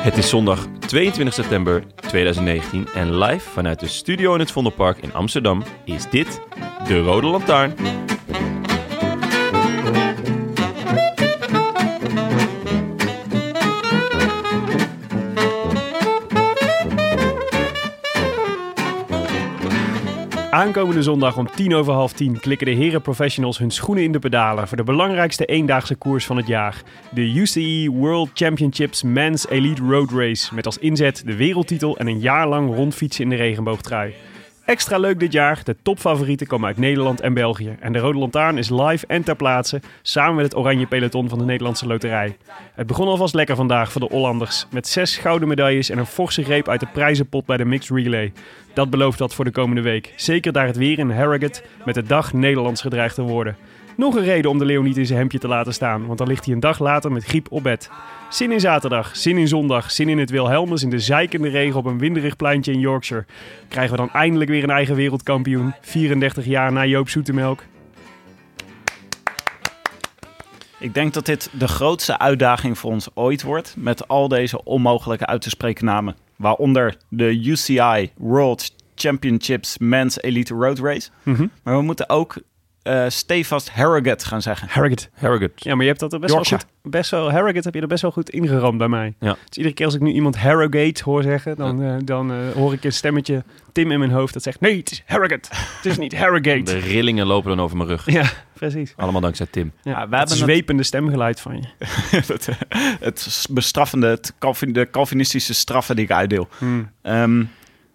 Het is zondag 22 september 2019 en live vanuit de studio in het Vondelpark in Amsterdam is dit de Rode Lantaarn. Aankomende zondag om tien over half tien klikken de heren professionals hun schoenen in de pedalen voor de belangrijkste eendaagse koers van het jaar. De UCI World Championships Men's Elite Road Race met als inzet de wereldtitel en een jaar lang rondfietsen in de regenboogtrui. Extra leuk dit jaar, de topfavorieten komen uit Nederland en België. En de Rode Lantaarn is live en ter plaatse, samen met het Oranje Peloton van de Nederlandse Loterij. Het begon alvast lekker vandaag voor de Hollanders, met zes gouden medailles en een forse greep uit de prijzenpot bij de Mixed Relay. Dat belooft wat voor de komende week, zeker daar het weer in Harrogate met de dag Nederlands gedreigd te worden. Nog een reden om de leeuw niet in zijn hemdje te laten staan, want dan ligt hij een dag later met griep op bed. Zin in zaterdag, zin in zondag, zin in het Wilhelmus in de zeikende regen op een winderig pleintje in Yorkshire. Krijgen we dan eindelijk weer een eigen wereldkampioen, 34 jaar na Joop Zoetemelk. Ik denk dat dit de grootste uitdaging voor ons ooit wordt. Met al deze onmogelijke uit te spreken namen. Waaronder de UCI World Championships Men's Elite Road Race. Mhm. Maar we moeten ook eh stevast Harrogate gaan zeggen. Harrogate. Harrogate. Ja, maar je hebt dat er best wel Yorkshire. goed, best wel, Harrogate heb je er best wel goed ingeramd bij mij. Ja. Dus iedere keer als ik nu iemand Harrogate hoor zeggen, dan, eh, dan eh, hoor ik een stemmetje Tim in mijn hoofd dat zegt, nee, het is Harrogate. Het is niet De Harrogate. rillingen lopen dan over mijn rug. Ja, precies. Allemaal dankzij Tim. Ja, Ja, we dat hebben het- zwepende stemgeluid van je. het, het bestraffende, het Calvin- de Calvinistische straffen die ik uitdeel. Ehm,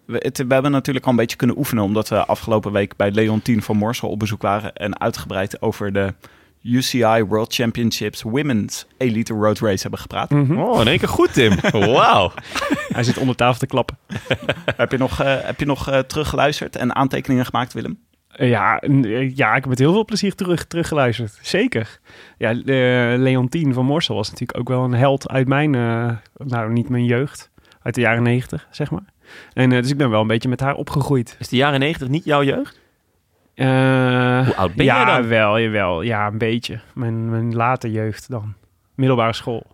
we, het- we hebben natuurlijk al een beetje kunnen oefenen, omdat we afgelopen week bij Leontien van Morsel op bezoek waren en uitgebreid over de UCI World Championships Women's Elite Road Race hebben gepraat. Oh, in één keer goed, Tim. Wauw. Hij zit onder tafel te klappen. Heb je nog, eh, heb je nog eh, teruggeluisterd en aantekeningen gemaakt, Willem? Eh, Ja, n- eh, ja, ik heb met heel veel plezier terug, teruggeluisterd. Zeker. Ja, eh, Leontien van Morsel was natuurlijk ook wel een held uit mijn, eh, nou niet mijn jeugd, uit de jaren negentig, zeg maar. En eh, dus ik ben wel een beetje met haar opgegroeid. Is de jaren 90 niet jouw jeugd? Eh, Hoe oud ben ja, jij dan? wel, jawel. Ja, een beetje. Mijn, mijn late jeugd dan. Middelbare school.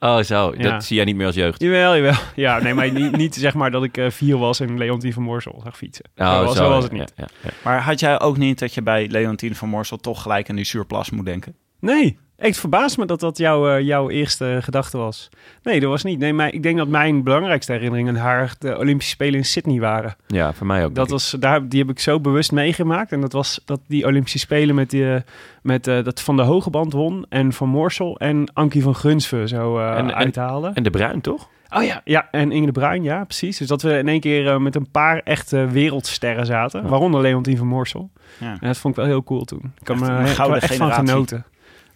Oh, zo. Ja. Dat zie jij niet meer als jeugd. Jawel, jawel. Ja, nee, maar niet, niet zeg maar dat ik eh, vier was en Leontien van Morsel zag fietsen. Oh, zo, was- zo was het niet. Ja, ja, ja. Maar had jij ook niet dat je bij Leontien van Morsel toch gelijk aan die surplus moet denken? Nee, echt verbaast me dat dat jouw, eh, jouw eerste gedachte was. Nee, dat was niet. Nee, maar ik denk dat mijn belangrijkste herinnering aan haar de Olympische Spelen in Sydney waren. Ja, voor mij ook. Dat denk ik. was, daar, die heb ik zo bewust meegemaakt. En dat was dat die Olympische Spelen met, die, eh, met eh, dat Van de Hoge Band won en Van Morsel en Ankie van Gunsven zo eh, En- en- uithalen. En de Bruin, toch? oh ja. Ja, en Inge de Bruin, ja, precies. Dus dat we in één keer eh, met een paar echte wereldsterren zaten. Ja. Waaronder Leontien van Morsel. Ja. En dat vond ik wel heel cool toen. Ik kan Echt me een ik heb er gouden echt van generatie. genoten.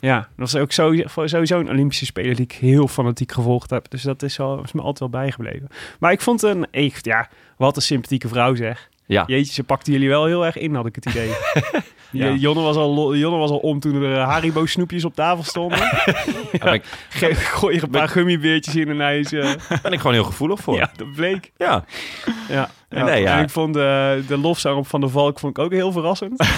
Ja, dat was ook sowieso, sowieso een Olympische Speler die ik heel fanatiek gevolgd heb. Dus dat is, al, is me altijd wel bijgebleven. Maar ik vond een echt, ja, wat een sympathieke vrouw zeg. Ja. Jeetje, ze pakten jullie wel heel erg in, had ik het idee. Ja. Je- Jonne, was al, lo- Jonne was al om toen er eh, Haribo-snoepjes op tafel stonden. Daar ben ik, Ge- Gooi er een paar gummibeertjes in en hij is... eh, daar ben ik gewoon heel gevoelig voor. ja, dat bleek. ja. Ja, en, Nee, ja. en ik vond eh, de lofzang op Van der Valk vond ik ook heel verrassend.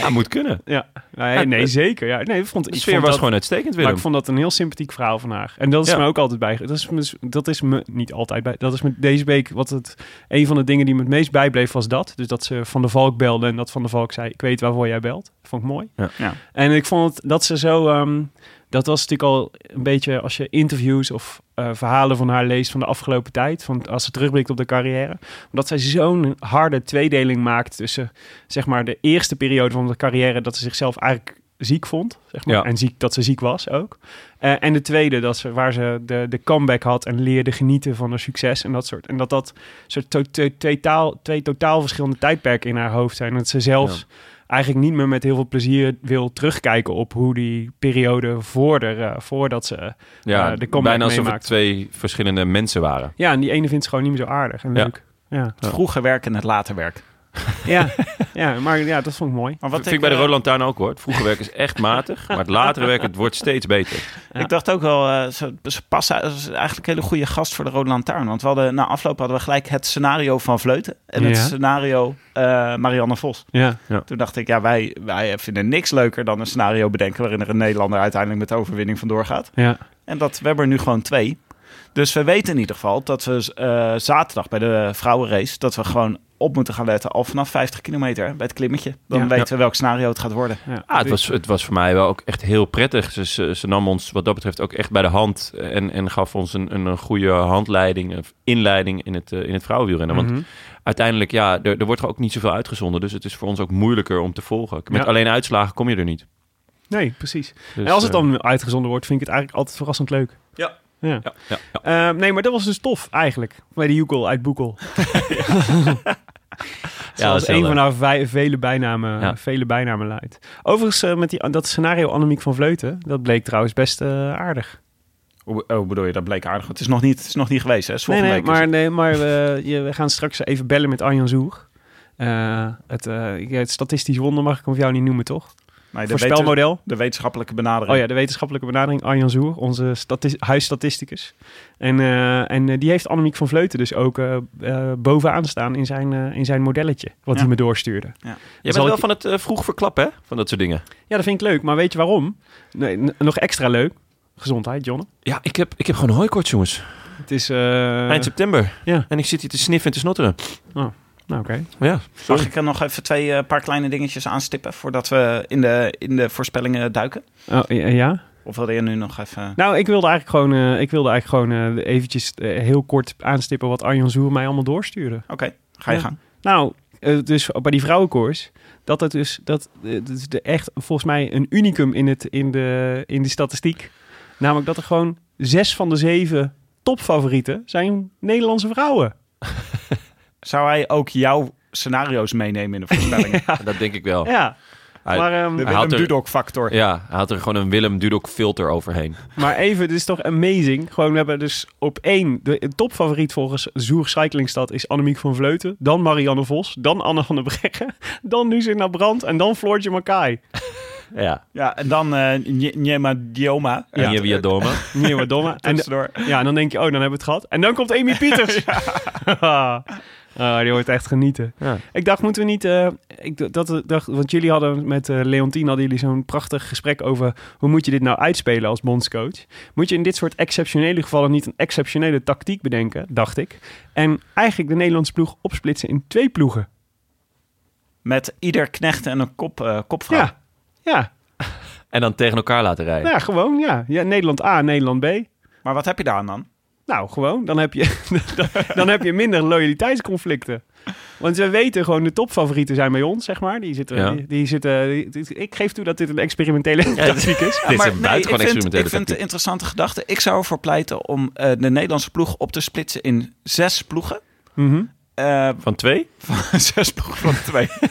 Ja, moet kunnen. ja. Nee, nee, zeker. Ja. Nee, ik vond, De ik sfeer vond was dat- gewoon uitstekend, Willem. Maar ik vond dat een heel sympathiek verhaal van haar. En dat is Ja. me ook altijd bij. Dat is, me, dus- dat is me niet altijd bij. Dat is me deze week. Wat het, een van de dingen die me het meest bijbleef was dat. Dus dat ze Van de Valk belde en dat Van de Valk zei: Ik weet waarvoor jij belt. Vond ik mooi. Ja. Ja. En ik vond het, dat ze zo. ehm, dat was natuurlijk al een beetje als je interviews of eh, verhalen van haar leest van de afgelopen tijd, van als ze terugblikt op de carrière, omdat zij zo'n harde tweedeling maakt tussen zeg maar de eerste periode van de carrière dat ze zichzelf eigenlijk ziek vond, zeg maar, Ja. en ziek dat ze ziek was ook, Eh, en de tweede dat ze waar ze de, de comeback had en leerde genieten van haar succes en dat soort en dat dat soort to- to- twee, taal, twee totaal verschillende tijdperken in haar hoofd zijn. En dat ze zelfs eigenlijk niet meer met heel veel plezier wil terugkijken op hoe die periode voorder, eh, voordat ze... Ja, Ja, de comeback bijna alsof het meemaakt. twee verschillende mensen waren. Ja, en die ene vindt ze gewoon niet meer zo aardig en Ja. leuk. Ja, Het vroege werk en het late werk. ja. ja maar ja, dat vond ik mooi. Maar Wat vind ik bij de eh, Rode Lantaarn ook hoor. Het vroege werk is echt matig, maar het latere werk het wordt steeds beter. Ja. Ik dacht ook wel, eh, ze, ze passen ze is eigenlijk een hele goede gast voor de Rode Lantaarn. Want we hadden, na afloop hadden we gelijk het scenario van Vleuten en het Ja. scenario eh, Marianne Vos. Ja, Toen dacht ik, ja, wij, wij vinden niks leuker dan een scenario bedenken waarin er een Nederlander uiteindelijk met de overwinning vandoor gaat. ja. En dat, we hebben er nu gewoon twee. Dus we weten in ieder geval dat we eh, zaterdag bij de vrouwenrace, dat we gewoon op moeten gaan letten al vanaf 50 kilometer bij het klimmetje. Dan Ja. weten we welk scenario het gaat worden. ja. Ah, het, was, het was voor mij wel ook echt heel prettig. Ze, ze, ze nam ons wat dat betreft ook echt bij de hand en, en gaf ons een, een, een goede handleiding, of inleiding in het, eh, in het vrouwenwielrennen. Want Mhm. uiteindelijk, ja, er, er wordt ook niet zoveel uitgezonden. Dus het is voor ons ook moeilijker om te volgen. Met Ja. alleen uitslagen kom je er niet. Nee, precies. Dus, en als het eh, dan uitgezonden wordt, vind ik het eigenlijk altijd verrassend leuk. Ja. ja. ja, ja, ja. Eh, nee, maar dat was dus tof eigenlijk. Bij de Joekel uit Boekel. dat is Zoals heel een leuk. van haar vij- vele bijnamen, Ja. vele bijnamen luidt. Overigens, eh, met die, dat scenario Annemiek van Vleuten, dat bleek trouwens best eh, aardig. Hoe hoe bedoel je, dat bleek aardig. Het is nog niet, het is nog niet geweest, hè? Het is Nee, volgende nee, week. maar, nee, maar we, je- we gaan straks even bellen met Arjan Zoer. Eh, het, eh, ik- het statistisch wonder mag ik hem voor jou niet noemen, toch? Nee, de, weten- Voorspelmodel. de wetenschappelijke benadering. Oh ja, de wetenschappelijke benadering, Arjan Zoer, onze stati- huisstatisticus. En, eh, en eh, die heeft Annemiek van Vleuten dus ook eh, eh, bovenaan staan in zijn, eh, in zijn modelletje, wat Ja. hij me doorstuurde. Je zal bent wel ik- van het eh, vroeg verklappen, hè? Van dat soort dingen. Ja, dat vind ik leuk, maar weet je waarom? Nee, n- nog extra leuk. Gezondheid, Jonne. Ja, ik heb, ik heb gewoon hooikoorts, jongens. Het is... eh, Eind september. ja. En ik zit hier te sniffen en te snotteren. Nou, oké. Ja, Mag ik er nog even twee eh, paar kleine dingetjes aanstippen voordat we in de, in de voorspellingen duiken? Oh, ja, ja. Of wilde je nu nog even... Nou, ik wilde eigenlijk gewoon, eh, ik wilde eigenlijk gewoon eh, eventjes eh, heel kort aanstippen wat Arjan Zoer mij allemaal doorstuurde. Oké, ga je Ja. gang. Nou, eh, dus bij die vrouwenkoers, dat het dus, dat, eh, dat is de echt volgens mij een unicum in, het, in, de, in de statistiek. Namelijk dat er gewoon zes van de zeven topfavorieten zijn Nederlandse vrouwen. Zou hij ook jouw scenario's meenemen in de voorspellingen? dat denk ik wel. Ja, Hij- maar, ehm, De Hij had Willem er- Dudok-factor. Ja, hij had er gewoon een Willem Dudok filter overheen. maar even, dit is toch amazing. Gewoon, we hebben dus op één, de de topfavoriet volgens Zoer Cyclingstad is Annemiek van Vleuten. Dan Marianne Vos, dan Anne van der Breggen, dan Lucinda Brand en dan Floortje Makai. Ja. Ja, en dan eh, Nye- Nyema Dioma. En eh, Ja. hier via Doma. Niet wat domme. En de- Tussendoor. Ja, en dan denk je, oh, dan hebben we het gehad. En dan komt Amy Pieters. Ah, die wordt echt genieten. Ja. Ik dacht, moeten we niet... eh, ik d- dat, dat- dacht, want jullie hadden met eh Leontien hadden jullie zo'n prachtig gesprek over... hoe moet je dit nou uitspelen als bondscoach? Moet je in dit soort exceptionele gevallen niet een exceptionele tactiek bedenken, dacht ik. En eigenlijk de Nederlandse ploeg opsplitsen in twee ploegen. Met ieder knecht en een kop, eh, kopvrouw. Ja, ja, En dan tegen elkaar laten rijden. ja, gewoon, ja. ja. Nederland A, Nederland B. Maar wat heb je daar aan dan? Nou, gewoon. Dan heb je, dan, dan heb je minder loyaliteitsconflicten. Want we weten gewoon, de topfavorieten zijn bij ons, zeg maar. Die zitten, Ja. die, die zitten, die- die- ik geef toe dat dit een experimentele tactiek is. Dit is een Maar nee, ik buitengewoon vind, ik experimentele vind het een tactiek. interessante gedachte. Ik zou ervoor pleiten om eh, de Nederlandse ploeg op te splitsen in zes ploegen. Mhm. Eh, Van twee? zes ploegen van twee.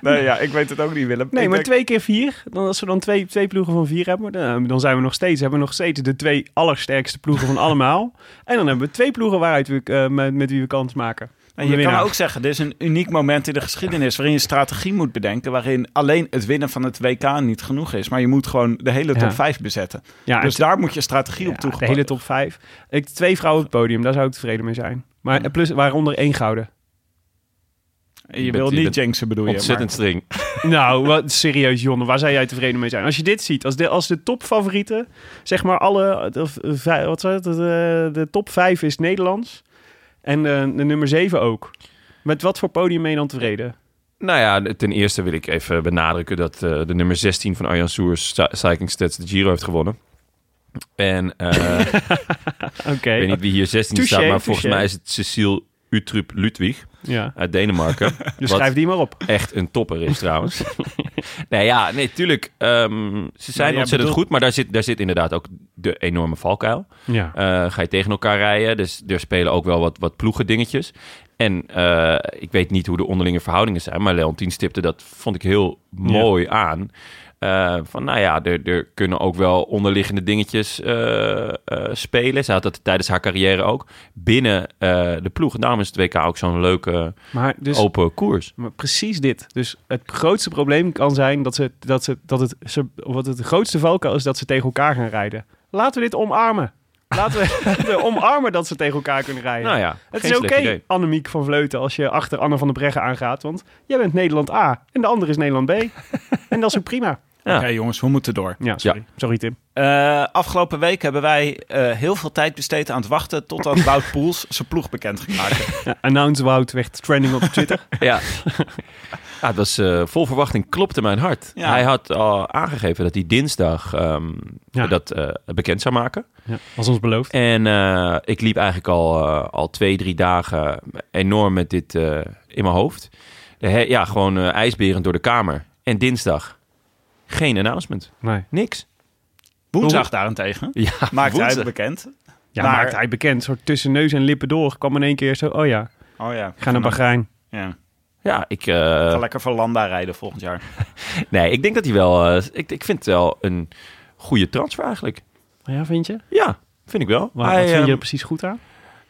nee, ja, ik weet het ook niet, Willem. Nee, Ik maar denk- twee keer vier. Dan, als we dan twee, twee ploegen van vier hebben, dan, dan zijn we nog steeds, hebben we nog steeds de twee allersterkste ploegen van allemaal. En dan hebben we twee ploegen waaruit we, eh, met, met wie we kans maken. En Om de je kan winnaar. ook zeggen, dit is een uniek moment in de geschiedenis waarin je strategie moet bedenken, waarin alleen het winnen van het WK niet genoeg is, maar je moet gewoon de hele top Ja. 5 bezetten. Ja, dus daar moet je strategie op ja, de toegepast. hele top vijf. Ik, twee vrouwen op het podium, daar zou ik tevreden mee zijn. Maar eh, plus, waaronder één gouden. Je, Je wil bent- je niet bent jinxen bedoel je. Ontzettend streng. Nou, wat, serieus, Jonne, waar zou jij tevreden mee zijn? Als je dit ziet, als de, als de topfavorieten, zeg maar alle, de, vij- wat zei het, de, de top vijf is eh, Nederlands en de, de nummer zeven ook. Met wat voor podium ben je dan tevreden? maar- Nou ja, ten eerste wil ik even benadrukken dat eh, de nummer 16 van Arjan Soers, Cy- Cycling Stats, de Giro heeft gewonnen. En eh, Oké. ik weet niet wie hier 16 Touché, staat, maar volgens touché. mij is het Cecile Utrup Ludwig Ja. uit Denemarken. Dus Wat- schrijf die maar op. echt een topper is trouwens. nee, ja, nee, tuurlijk. ehm, ze zijn jij ontzettend bedoelt- goed, maar daar zit, daar zit inderdaad ook de enorme valkuil. Ja. Eh, ga je tegen elkaar rijden, dus er spelen ook wel wat, wat ploegendingetjes. En eh, ik weet niet hoe de onderlinge verhoudingen zijn, maar Leontien stipte dat, vond ik heel mooi aan. Eh, van nou ja, er, er kunnen ook wel onderliggende dingetjes eh, eh, spelen. Ze had dat tijdens haar carrière ook binnen eh, de ploeg. Daarom is het WK ook zo'n leuke Maar dus open koers. maar precies dit. Dus het grootste probleem kan zijn dat, ze, dat, ze, dat het, ze, of wat het grootste valkuil is dat ze tegen elkaar gaan rijden. Laten we dit omarmen. Laten we omarmen dat ze tegen elkaar kunnen rijden. Nou ja, Het geen is slecht oké, idee. Annemiek van Vleuten, als je achter Anne van der Breggen aangaat. Want jij bent Nederland A en de ander is Nederland B. en dat is ook prima. Ja. Oké jongens, we moeten door. Ja, sorry. Sorry Tim. Eh, afgelopen week hebben wij eh, heel veel tijd besteed aan het wachten totdat Wout Poels zijn ploeg bekend ging maken. announce Wout werd trending op Twitter. Ja. ja, het was eh, vol verwachting, klopte mijn hart. Ja. Hij had al aangegeven dat hij dinsdag ehm, Ja. dat eh, bekend zou maken. ja, was ons beloofd. En eh, ik liep eigenlijk al, eh, al twee, drie dagen enorm met dit eh, in mijn hoofd. De he- ja, gewoon eh, ijsberend door de kamer. En dinsdag geen announcement. Nee. Niks. Woensdag daarentegen Ja, maakt hij het woensdag. bekend. Ja, Maar- maakte hij bekend. Soort tussen neus en lippen door. Kwam in één keer zo, oh ja, Oh ja. ik ga naar Bahrein. Ja. Ja, ik... eh, Ga lekker voor Landa rijden volgend jaar. nee, ik denk dat hij wel... eh, ik, ik vind het wel een goede transfer eigenlijk. Oh Ja, vind je? Ja, vind ik wel. Waar, Hij, wat vind ehm, je er precies goed aan?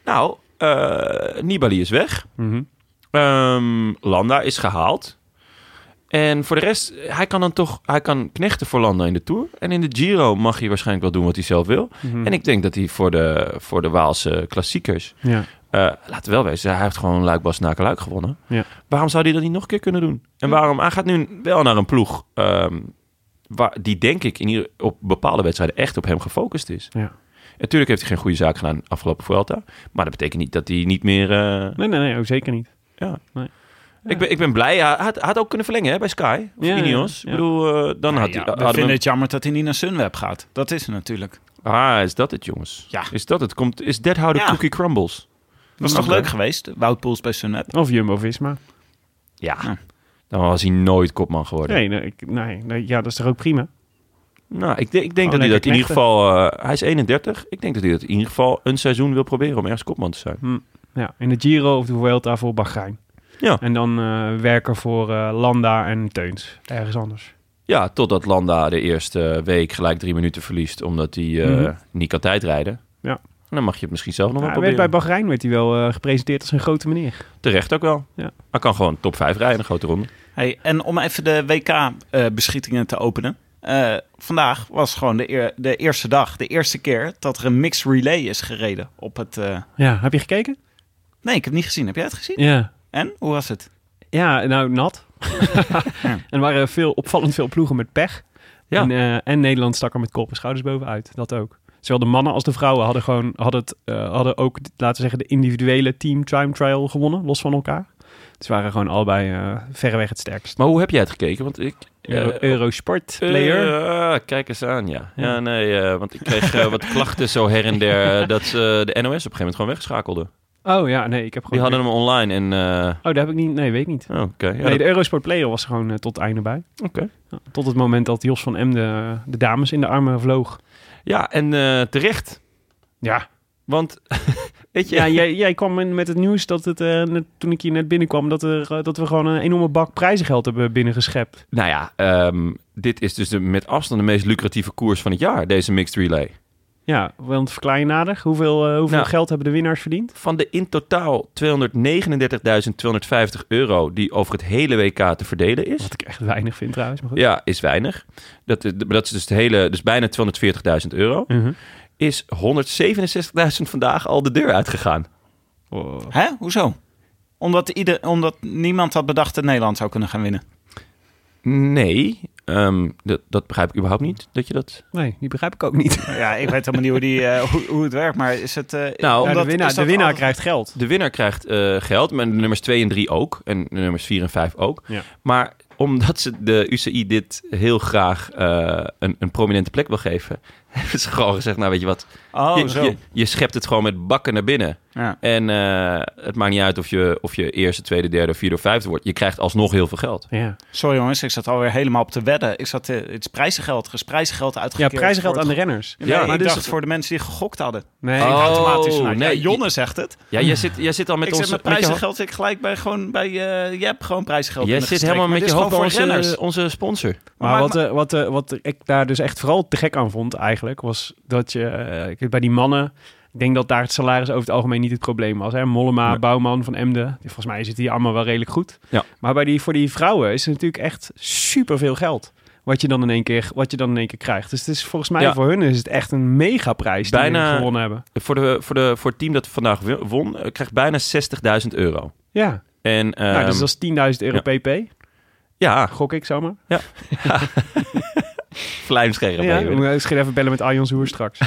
Nou, eh, Nibali is weg. Ehm, Landa is gehaald. En voor de rest, hij kan dan toch... Hij kan knechten voor Landa in de Tour. En in de Giro mag hij waarschijnlijk wel doen wat hij zelf wil. En ik denk dat hij voor de, voor de Waalse klassiekers... Ja. eh, laten we wel wezen, hij heeft gewoon Luik-Bas Nakeluik gewonnen. Ja. Waarom zou hij dat niet nog een keer kunnen doen? En waarom... Hij gaat nu wel naar een ploeg... ehm, waar, die denk ik in ieder, op bepaalde wedstrijden echt op hem gefocust is. ja. Natuurlijk heeft hij geen goede zaak gedaan afgelopen Vuelta. Maar dat betekent niet dat hij niet meer... eh, Nee, nee, nee, ook zeker niet. ja. Nee. Ik, ben, ik ben blij. Hij had, hij had ook kunnen verlengen hè, bij Sky. Of Ja, Ineos. ja, ja. Ik bedoel, eh, dan Nou had hij... ja, we hadden vinden we het jammer dat hij niet naar Sunweb gaat. Dat is het natuurlijk. hem- Ah, is dat het, jongens? Ja. Is dat het? Komt, is that how the Ja. cookie crumbles? Dat is Oké. toch leuk geweest, Wout Poels bij Sunweb. Of Jumbo-Visma. Ja. Ja. Dan was hij nooit kopman geworden. Nee, nee, ik- nee, nee, ja, dat is toch ook prima? Nou, ik, denk- ik denk Oh, dat hij dat lekker in ieder knechten. geval... eh, hij is 31. Ik denk dat hij dat in ieder geval een seizoen wil proberen om ergens kopman te zijn. Ja, in de Giro of de Vuelta voor Bahrein. Ja. En dan eh, werken voor eh, Landa en Teuns. Ergens anders. Ja, totdat Landa de eerste eh, week gelijk drie minuten verliest... omdat hij eh, Mhm. niet kan tijdrijden. Ja. En dan mag je het misschien zelf nog Ja, wel hij werd proberen. Nou, bij Bahrein werd hij wel eh, gepresenteerd als een grote meneer. Terecht ook wel. Ja. Hij kan gewoon top 5 rijden in een grote ronde. Hey, en om even de WK-beschietingen te openen. Eh, vandaag was gewoon de, eer- de eerste dag, de eerste keer dat er een mixed relay is gereden op het... eh, Ja, heb je gekeken? Nee, ik heb niet gezien. Heb jij het gezien? Ja. En, hoe was het? Ja, nou, nat. en er waren veel, opvallend veel ploegen met pech. Ja. En, eh, en Nederland stak er met kop en schouders bovenuit. Dat ook. Zowel de mannen als de vrouwen hadden, gewoon, hadden, het, eh, hadden ook, laten we zeggen, de individuele team time trial gewonnen, los van elkaar. Ze waren gewoon allebei eh, verreweg het sterkst. Maar hoe heb jij het gekeken? Want ik... Euro, eh, Eurosport player. eh, kijk eens aan, ja. Ja, Ja. nee, eh, want ik kreeg eh, wat klachten zo her en der... eh, dat ze de NOS op een gegeven moment gewoon wegschakelde. Oh ja, nee, ik heb eh, Die gewoon... hadden hem online en... eh, Oh, daar heb ik niet... Nee, weet ik niet. oh, Oké, Ja, nee, dat- de Eurosport Player was er gewoon eh, tot het einde bij. Oké. Ja, tot het moment dat Jos van Emden eh, de dames in de armen vloog. ja en eh, terecht. Ja. Want, weet je... Ja, jij, jij kwam in met het nieuws dat het, eh, net- toen ik hier net binnenkwam, dat, er, eh, dat we gewoon een enorme bak prijzengeld hebben binnengeschept. Nou ja, ehm, dit is dus de, met afstand de meest lucratieve koers van het jaar, deze mixed relay. Ja, want verklaar je nader, hoeveel, eh, hoeveel Nou. geld hebben de winnaars verdiend? Van de in totaal 239.250 euro die over het hele WK te verdelen is... Wat ik echt weinig vind trouwens, maar goed. Ja, is weinig. Dat, is- dat is dus, de hele, dus bijna 240.000 euro. Mhm. Is 167.000 vandaag al de deur uitgegaan. Oh. Hè? Hoezo? Omdat, ieder, omdat niemand had bedacht dat Nederland zou kunnen gaan winnen. Nee, ehm, dat, dat begrijp ik überhaupt niet, dat je dat... Nee, die begrijp ik ook niet. Ja, ik weet helemaal niet hoe, die, eh, hoe, hoe het werkt, maar is het... eh, Nou, Ja, omdat- de winnaar, is dat de winnaar al- krijgt geld. De winnaar krijgt eh, geld, maar de nummers 2 en 3 ook. En de nummers 4 en 5 ook. Ja. Maar omdat ze de UCI dit heel graag eh, een, een prominente plek wil geven... hebben ze gewoon gezegd, nou weet je wat... Oh, je, zo. je, je schept het gewoon met bakken naar binnen. Ja. En eh, het maakt niet uit of je, of je eerste, tweede, derde, vierde of vijfde wordt. Je krijgt alsnog heel veel geld. Ja, Sorry jongens, ik zat alweer helemaal op te wedden. Ik zat, eh, het is prijzengeld, het is prijzengeld ja uitgekeerd. prijzengeld voor aan de het- renners. Nee, Ja, ik maar dus- dacht voor de mensen die gegokt hadden. Nee, Oh, automatisch vanuit. nee. Ja, Jonne zegt het. Ja, jij zit, jij zit al met ik ons... zit met met je ho- prijzengeld, ik gelijk bij gewoon bij, eh je hebt gewoon prijzengeld. Jij binnen zit helemaal met gestreken, je maar hoofd bij dit is gewoon voor onze, renners. onze sponsor. Maar, Maar- wat, eh, wat, eh, wat ik daar dus echt vooral te gek aan vond eigenlijk, was dat je eh, ik weet, bij die mannen, ik denk dat daar het salaris over het algemeen niet het probleem was. Hè? Mollema, Nee. Bouwman van Emden, volgens mij zitten die allemaal wel redelijk goed. Ja. Maar bij die, voor die vrouwen is het natuurlijk echt superveel geld. Wat je, dan in één keer, wat je dan in één keer krijgt. Dus het is, volgens mij Ja. voor hun is het echt een megaprijs die Bijna- ze gewonnen hebben. Voor, de, voor, de, voor het team dat vandaag wi- won, eh, krijgt bijna 60.000 euro. Ja, En, nou, ehm, dus dat is 10.000 euro pp, Ja, gok ik zomaar. vlijmscherm. Ja, even. moet ik misschien even bellen met Arjan Zoer straks.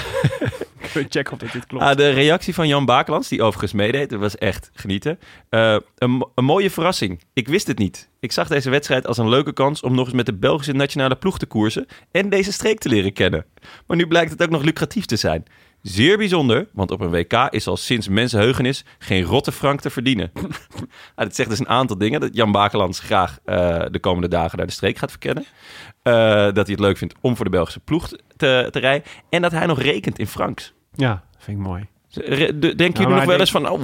Even checken of dat dit klopt. Ah, de reactie van Jan Bakelands, die overigens meedeed, dat was echt genieten. Eh, een, mo- een mooie verrassing. Ik wist het niet. Ik zag deze wedstrijd als een leuke kans om nog eens met de Belgische nationale ploeg te koersen en deze streek te leren kennen. Maar nu blijkt het ook nog lucratief te zijn. Zeer bijzonder, want op een WK is al sinds mensenheugenis geen rotte frank te verdienen. Ah, dat zegt dus een aantal dingen. Dat Jan Bakelands graag eh, de komende dagen naar de streek gaat verkennen. Eh, dat hij het leuk vindt om voor de Belgische ploeg te, te rijden. En dat hij nog rekent in francs. Ja, vind ik mooi. Re- de- Denken maar jullie nog wel denk- eens van, oh,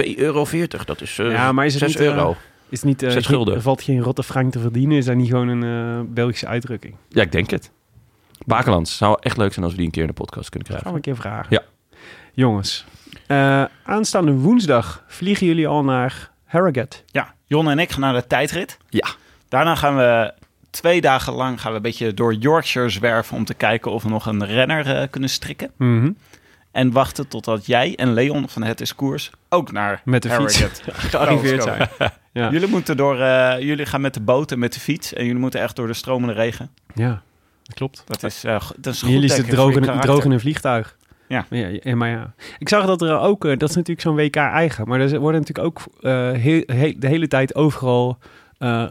eh 2,40 euro, dat is eh Ja, maar is het 6 niet, eh, euro. Is niet, eh, Zes geen- gulden. er valt geen rotte frank te verdienen? Is dat niet gewoon een eh, Belgische uitdrukking? Ja, ik denk het. Bakelands, zou echt leuk zijn als we die een keer in de podcast kunnen Dat gaan krijgen. we een keer vragen. Ja. Jongens, eh, aanstaande woensdag vliegen jullie al naar Harrogate. Ja, Jon en ik gaan naar de tijdrit. Ja. Daarna gaan we twee dagen lang gaan we een beetje door Yorkshire zwerven om te kijken of we nog een renner eh, kunnen strikken. Mhm. En wachten totdat jij en Leon van Het is Koers ook naar Met de fiets. Harrogate Gearriveerd komen. zijn. Ja. Jullie, moeten door, eh, jullie gaan met de boot en met de fiets. En jullie moeten echt door de stromende regen. Ja, dat klopt. Dat is, eh, go- dat is een goed Jullie is het teken voor je droog in, karakter. droog in een vliegtuig. Ja. Ja, ja, maar ja. Ik zag dat er ook, eh, dat is natuurlijk zo'n WK eigen, maar er worden natuurlijk ook eh, heel- heel- de hele tijd overal eh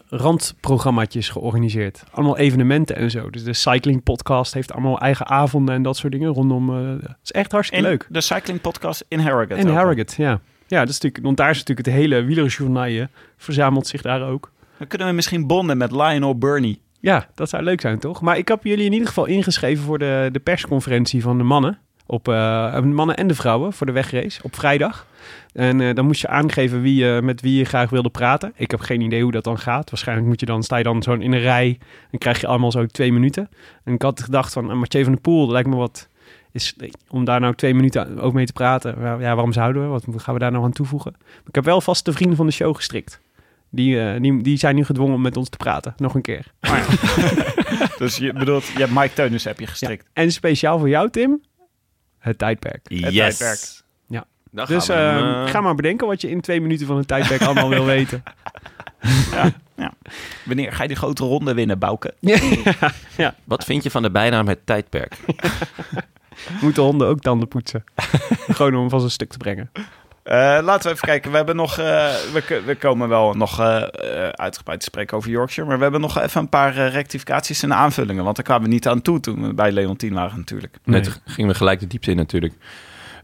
randprogrammaatjes georganiseerd. Allemaal evenementen en zo. Dus de Cycling Podcast heeft allemaal eigen avonden en dat soort dingen rondom. eh, Het is echt hartstikke In leuk. de cycling podcast in Harrogate. En ook. Harrogate, ja. Ja, dat is natuurlijk, want daar is natuurlijk het hele wielerjournaal verzamelt zich daar ook. Dan kunnen we misschien bonden met Lionel Burney. Ja, dat zou leuk zijn, toch? Maar ik heb jullie in ieder geval ingeschreven voor de, de persconferentie van de mannen. Op, eh, de mannen en de vrouwen voor de wegrace op vrijdag. En eh, dan moest je aangeven wie, je- met wie je graag wilde praten. Ik heb geen idee hoe dat dan gaat. Waarschijnlijk moet je dan, sta je dan zo'n in een rij en krijg je allemaal zo twee minuten. En ik had gedacht van, eh, Mathieu van der Poel, dat lijkt me wat... Is, om daar nou twee minuten ook mee te praten. Ja, waarom zouden we? Wat gaan we daar nou aan toevoegen? Maar ik heb wel vast de vrienden van de show gestrikt. Die, eh, die, die zijn nu gedwongen om met ons te praten. Nog een keer. Dus je bedoelt, je hebt Mike Teunis heb je gestrikt. Ja. En speciaal voor jou, Tim, het tijdperk. Het tijdperk. Ja. Dan gaan dus we hem, ehm, eh, ga maar bedenken wat je in twee minuten van het tijdperk allemaal wil weten. Wanneer ga je die grote ronde winnen, Bouke? Wat vind je van de bijnaam het tijdperk? Moeten honden ook tanden poetsen? Gewoon om hem van zijn stuk te brengen. Eh, laten we even kijken. We hebben nog. eh, we, k- we komen wel nog eh, eh, uitgebreid te spreken over Yorkshire. Maar we hebben nog even een paar eh, rectificaties en aanvullingen. Want daar kwamen we niet aan toe toen we bij Leontien waren, natuurlijk. Net gingen we gelijk de diepte in natuurlijk.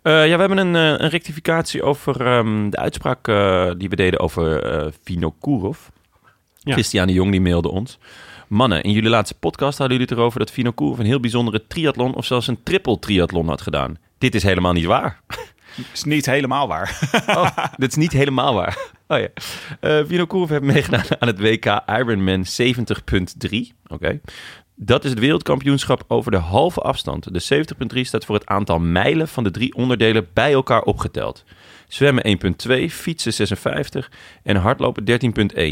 Eh, ja, we hebben een, eh, een rectificatie over ehm, de uitspraak eh, die we deden over eh Vinokourov. Ja. Christiane Jong die mailde ons. Mannen, in jullie laatste podcast hadden jullie het erover dat Vinokourov een heel bijzondere triathlon of zelfs een triple triathlon had gedaan. Dit is helemaal niet waar. Is niet helemaal waar. Oh, dit is niet helemaal waar. Oh ja. Eh Vinokourov heeft meegedaan aan het WK Ironman 70.3. Oké. Dat is het wereldkampioenschap over de halve afstand. De 70.3 staat voor het aantal mijlen van de drie onderdelen bij elkaar opgeteld. Zwemmen 1.2, fietsen 56 en hardlopen 13.1.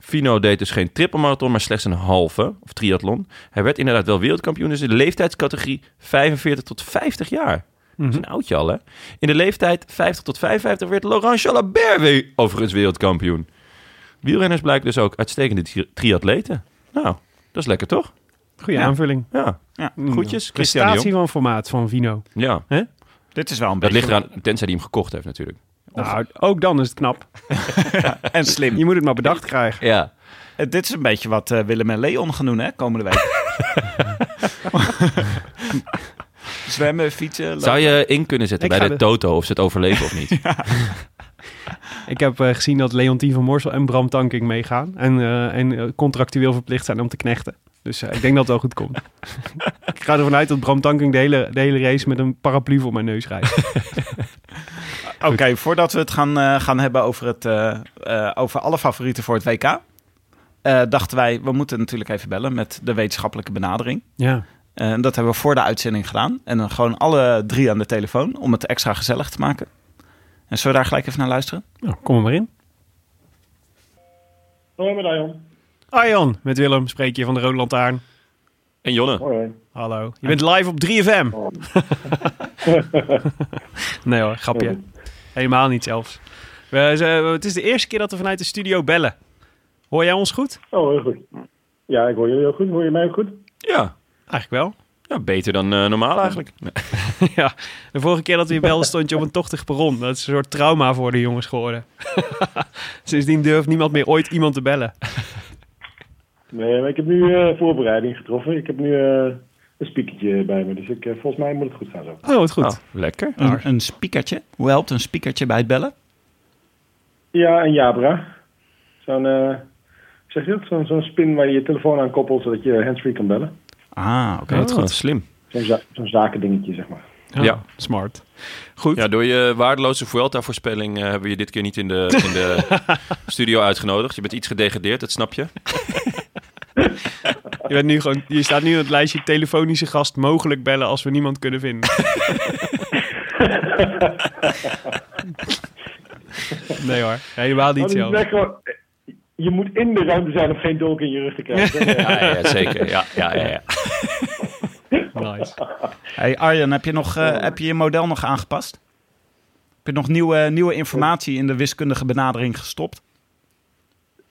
Fino deed dus geen trippelmarathon, maar slechts een halve, of triathlon. Hij werd inderdaad wel wereldkampioen, dus in de leeftijdscategorie 45 tot 50 jaar. Dat is een oudje al, hè? In de leeftijd 50 tot 55 werd Laurent Jalabert weer overigens wereldkampioen. Wielrenners blijken dus ook uitstekende tri- triatleten. Nou, dat is lekker toch? Goede Ja. aanvulling. Ja, Ja, goedjes. Christian de Prestatie Jong. van formaat van Vino. Ja, Dit is wel een dat ligt beetje... eraan, tenzij hij hem gekocht heeft natuurlijk. Nou, ook dan is het knap. En slim. Je moet het maar bedacht krijgen. Ja, Eh, dit is een beetje wat eh, Willem en Leon gaan doen, hè, komende week. Zwemmen, fietsen, lopen. zou je in kunnen zetten Ik bij ga de de- Toto of ze het overleven of niet? Ik heb eh, gezien dat Leontien van Morsel en Bram Tankink meegaan. En, eh, en eh, contractueel verplicht zijn om te knechten. Dus eh, ik denk dat het wel goed komt. ik ga ervan uit dat Bram Tankink de hele, de hele race met een paraplu voor mijn neus rijdt. Oké, voordat we het gaan, eh, gaan hebben over, het, eh, eh, over alle favorieten voor het WK... eh, dachten wij, we moeten natuurlijk even bellen met de wetenschappelijke benadering. ja. Eh, dat hebben we voor de uitzending gedaan. En dan gewoon alle drie aan de telefoon om het extra gezellig te maken. En zullen we daar gelijk even naar luisteren? Nou, kom er maar in. Hoi met Arjan. Arjan, met Willem spreek je van de Rode Lantaarn. en Jonne? Hoi, hoi. Hallo. Je bent live op 3FM. Oh. nee hoor, grapje. Helemaal niet zelfs. We, ze- het is de eerste keer dat we vanuit de studio bellen. Hoor jij ons goed? Oh, heel goed. Ja, ik hoor jullie heel goed. Hoor je mij ook goed? Ja. Eigenlijk wel. ja, beter dan eh, normaal eigenlijk. ja, de vorige keer dat we je belden stond je op een tochtig perron. Dat is een soort trauma voor de jongens geworden. Sindsdien durft niemand meer ooit iemand te bellen. Nee, maar ik heb nu eh, voorbereiding getroffen. Ik heb nu eh, een spiekertje bij me. Dus ik, eh, volgens mij moet het goed gaan zo. Oh, wat goed. Nou, lekker. Een, een speakertje. Hoe helpt een speakertje bij het bellen? Ja, een Jabra. Zo'n, eh, hoe zeg je dat? Zo'n, zo'n spin waar je je telefoon aan koppelt zodat je handsfree kan bellen. Ah, oké. Ja, goed. Slim. Zo'n, za- zo'n zakendingetje, zeg maar. Oh, ja. Smart. Goed. Ja, door je waardeloze Vuelta-voorspelling eh, hebben we je dit keer niet in de, in de studio uitgenodigd. Je bent iets gedegradeerd, dat snap je. Je, bent nu gewoon, je staat nu op het lijstje telefonische gast mogelijk bellen als we niemand kunnen vinden. nee hoor, helemaal niet Oh, dus zelf. ik ben gewoon- je moet in de ruimte zijn om geen dolk in je rug te krijgen. Ja, ja, zeker. Ja, ja, ja, ja. Nice. Hey Arjen, heb je, nog, eh, heb je je model nog aangepast? Heb je nog nieuwe, nieuwe informatie in de wiskundige benadering gestopt?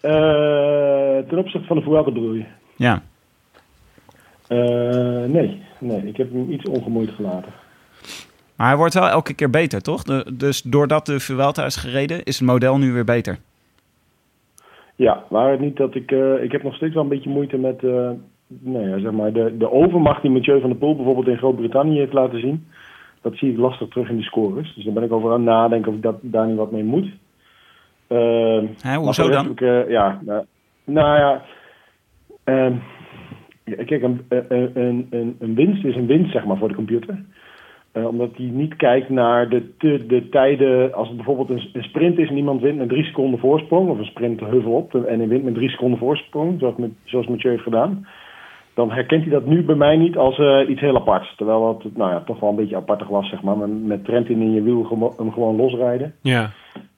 Eh, ten opzichte van de Vuelta bedoel je? Ja. Eh, nee, nee, ik heb hem iets ongemoeid gelaten. Maar hij wordt wel elke keer beter, toch? De- dus doordat de Vuelta is gereden, is het model nu weer beter. Ja, waar het niet dat ik... eh, ik heb nog steeds wel een beetje moeite met... eh, nou ja, zeg maar, de, de overmacht die Mathieu van der Poel bijvoorbeeld in Groot-Brittannië heeft laten zien. Dat zie ik lastig terug in de scores. Dus daar ben ik over aan het nadenken of ik dat, daar nu wat mee moet. Ehm, Hè, maar hoezo voor de rest dan? heb ik, eh, ja, nou, nou ja... ehm, ja, kijk, een, een, een- een, een winst is een winst, zeg maar, voor de computer. Eh, omdat hij niet kijkt naar de, te- de tijden. Als het bijvoorbeeld een, een sprint is en iemand wint met drie seconden voorsprong. Of een sprint de heuvel op en hij wint met drie seconden voorsprong. Zoals, met, zoals Mathieu heeft gedaan. Dan herkent hij dat nu bij mij niet als eh, iets heel aparts. Terwijl dat nou ja, toch wel een beetje apartig was, zeg maar. Met, met Trentin in je wiel gemo- hem gewoon losrijden. Ja,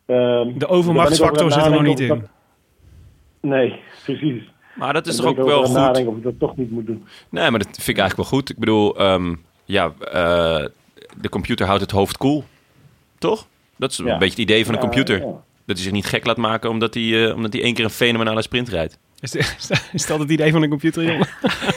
Ehm, de daar ben ik overmachtsfactor over zit er nog aan niet het nadenken in. of ik dat- Nee, precies. Maar dat is Daar toch ben ook ik wel over aan het goed? nadenken of ik dat toch niet moet doen. Nee, maar dat vind ik eigenlijk wel goed. Ik bedoel, ehm, ja, eh, de computer houdt het hoofd koel. Toch? Dat is een Ja. beetje het idee van een Ja, computer. ja. Dat hij zich niet gek laat maken omdat hij, eh, omdat hij één keer een fenomenale sprint rijdt. Is, is dat het idee van een computer, jongen?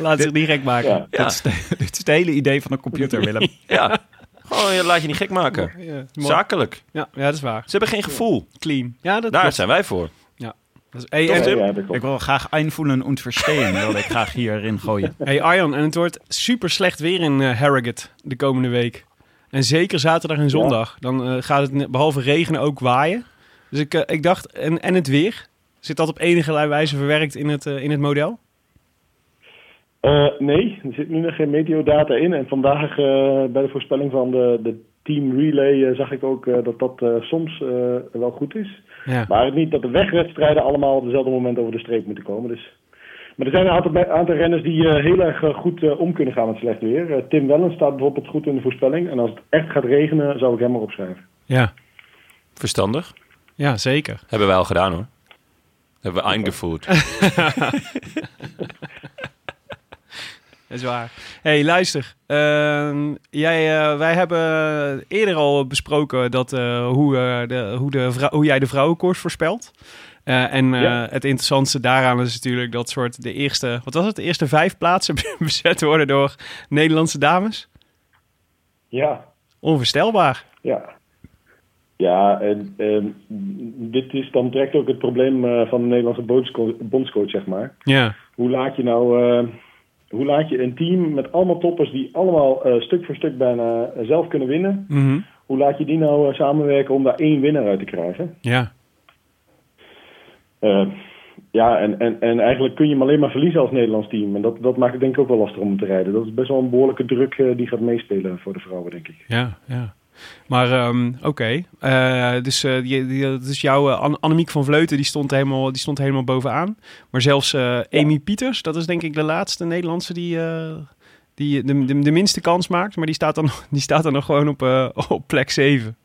Laat zich niet gek maken. Ja. Ja, Dit is het hele idee van een computer, Willem. ja. Gewoon je laat je niet gek maken. Ja, mooi. Zakelijk. Ja, ja, dat is waar. Ze hebben geen gevoel. Clean. Ja, dat Daar klopt. zijn wij voor. Dat is- E hey, Toch, en- Tim? Ja, dat klopt. Ik wil graag einvoelen en verstehen, wilde ik graag hierin gooien. Hey Arjan, en het wordt super slecht weer in eh, Harrogate de komende week. En zeker zaterdag en zondag. Dan eh, gaat het ne- behalve regenen ook waaien. Dus ik, eh, ik dacht, en, en het weer? Zit dat op enige wijze verwerkt in het, eh, in het model? Eh, nee, er zit nu nog geen meteodata in. En vandaag eh, bij de voorspelling van de, de team relay eh, zag ik ook eh, dat dat eh, soms eh, wel goed is. Ja. Maar het niet dat de wegwedstrijden allemaal op dezelfde moment over de streep moeten komen. Dus. Maar er zijn een aantal, be- aantal renners die eh, heel erg eh, goed eh, om kunnen gaan met slecht weer. Eh, Tim Wellen staat bijvoorbeeld goed in de voorspelling. En als het echt gaat regenen, zou ik hem maar opschrijven. Ja. Verstandig. ja, zeker. Hebben wij al gedaan hoor. Hebben we eingevoerd. Ja, Dat is waar. hey, luister. Ehm, jij, eh, wij hebben eerder al besproken dat, eh, hoe, eh, de, hoe, de vrou- hoe jij de vrouwenkoers voorspelt. Eh, en eh, Ja. het interessantste daaraan is natuurlijk dat soort de eerste, wat was het, de eerste vijf plaatsen bezet worden door Nederlandse dames. Ja, Onvoorstelbaar. ja. Ja, en ehm, dit is dan direct ook het probleem eh, van de Nederlandse bondsco- bondscoach, zeg maar. Ja. hoe laat je nou eh, hoe laat je een team met allemaal toppers die allemaal eh, stuk voor stuk bijna eh, zelf kunnen winnen, Mhm. hoe laat je die nou eh, samenwerken om daar één winnaar uit te krijgen? Ja. Eh, ja, en, en, en eigenlijk kun je hem alleen maar verliezen als Nederlands team. En dat, dat maakt het denk ik ook wel lastig om te rijden. Dat is best wel een behoorlijke druk eh, die gaat meespelen voor de vrouwen, denk ik. Ja, ja. Maar ehm, oké, Eh, dus, eh, die- die- dus jouw eh, Anne- Annemiek van Vleuten die stond helemaal, die stond helemaal bovenaan. Maar zelfs eh, Amy Pieters, dat is denk ik de laatste Nederlandse die, eh, die de, de, de minste kans maakt. Maar die staat dan, die staat dan nog gewoon op, eh, op plek 7.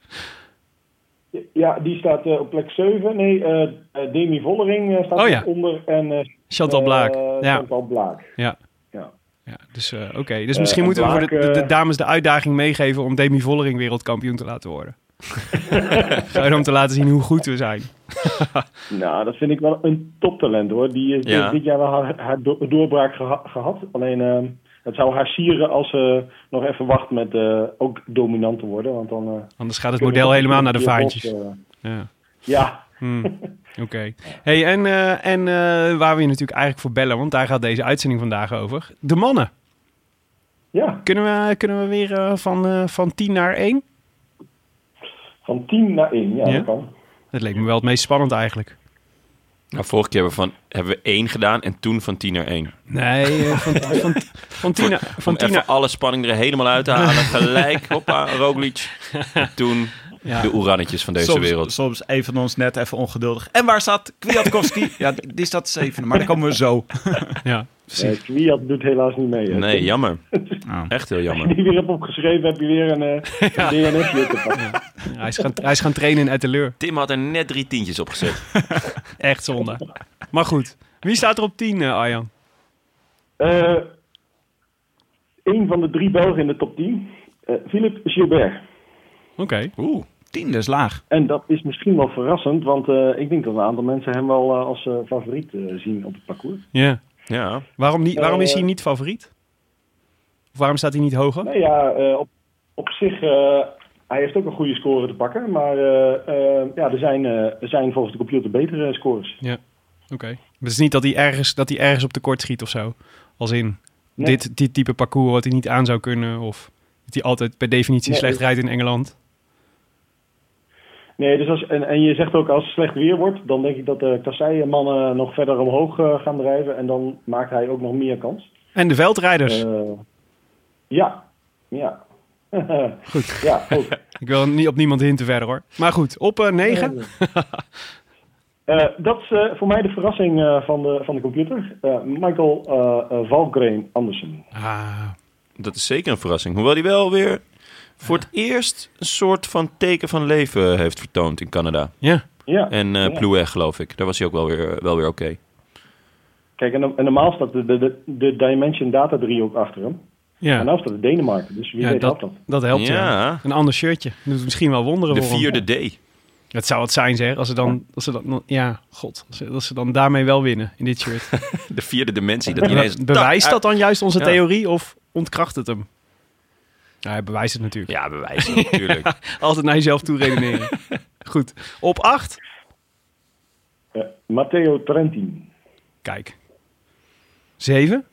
Ja, die staat eh, op plek 7. Nee, eh, eh, Demi Vollering eh, staat Oh ja. onder. En, eh Chantal Blaak. eh, ja. Chantal Blaak. Ja. Ja. ja, dus eh, oké. Dus Eh, misschien en moeten we voor Blaak, de, de, de eh, dames de uitdaging meegeven om Demi Vollering wereldkampioen te laten worden. Gewoon om te laten zien hoe goed we zijn. Nou, dat vind ik wel een toptalent hoor. Die is Ja. dit- dit jaar wel haar, haar do- doorbraak geha- gehad. Alleen ehm, het zou haar sieren als ze nog even wacht met eh, ook dominant te worden. Want dan, eh, Anders gaat het kunnen model we- helemaal naar de vaantjes. eh, Ja. ja, Hmm, Oké. Hey, en eh, en eh, waar we je natuurlijk eigenlijk voor bellen, want daar gaat deze uitzending vandaag over. De mannen. ja, Kunnen we, kunnen we weer eh, van, eh, van 10 naar 1? van 10 naar 1. Ja, Ja? dat kan. Dat leek me wel het meest spannend eigenlijk. Nou, vorige keer hebben we, van, hebben we één gedaan en toen van tien naar één. Nee, eh, van, van, van 10 naar, van Om 10 even naar... alle spanning er helemaal uit te halen. Gelijk, hoppa, Roglic. En toen Ja. de oerannetjes van deze soms, wereld. soms een van ons net even ongeduldig. En waar staat Kwiatkowski? ja, die die staat zevende, maar daar komen we zo. Ja, Eh, precies. Kwiat doet helaas niet mee. hè. Nee, jammer. Ah. Echt heel jammer. Als je die weer hebt opgeschreven, heb je weer een, eh een DNF-je te pakken. Hij is, gaan, hij is gaan trainen in Etteleur. Tim had er net drie tientjes op gezet. Echt zonde. Maar goed. Wie staat er op 10, eh, Arjan? Eh, Eén van de drie Belgen in de top 10. eh Philip Gilbert. Oké. Oeh, tiende is laag. En dat is misschien wel verrassend, want eh, ik denk dat een aantal mensen hem wel eh, als eh, favoriet eh, zien op het parcours. Ja. Ja, Waarom, niet, waarom is hij Eh, niet favoriet? Of waarom staat hij niet hoger? Nou ja, eh, op, op zich, eh, hij heeft ook een goede score te pakken, maar eh, eh, ja, er, zijn, eh, er zijn volgens de computer betere eh, scores. Oké. Dus niet dat hij ergens, dat hij ergens op tekort schiet of zo. Als in Nee. dit, dit type parcours wat hij niet aan zou kunnen. Of dat hij altijd per definitie Nee. slecht rijdt in Engeland. Nee, dus als, en, en je zegt ook als het slecht weer wordt, dan denk ik dat eh, de kasseien-mannen nog verder omhoog eh, gaan drijven en dan maakt hij ook nog meer kans. En de veldrijders. Eh, ja, ja. Goed. Ja, ook. Ik wil niet op niemand hinten verder hoor. Maar goed, op 9. Eh, dat is eh, voor mij de verrassing eh, van, de, van de computer. Eh, Michael eh eh, Valgren Andersen. Ah, dat is zeker een verrassing. Hoewel hij wel weer voor het eerst een soort van teken van leven heeft vertoond in Canada. ja. Ja. En eh Ja. Plouet, geloof ik. Daar was hij ook wel weer, wel weer oké. Kijk, en, en normaal staat de, de, de, de Dimension Data 3 ook achter hem. En Ja, nou staat het Denemarken, dus wie Ja, weet dat dat, dat. dat helpt ja. Ja. Een ander shirtje. Dat doet misschien wel wonderen De voor hem. vierde D. Dat zou het zijn zeg. Als ze dan, als ze dan ja, god. Als ze, als ze dan daarmee wel winnen in dit shirt. De vierde dimensie. Dat ineens... bewijst dat dan juist onze Ja. theorie of ontkracht het hem? Nou, hij bewijst het natuurlijk. Ja, bewijzen natuurlijk. Altijd naar jezelf toe redeneren. Goed. Op acht. Eh, Matteo Trentin. Kijk. Zeven.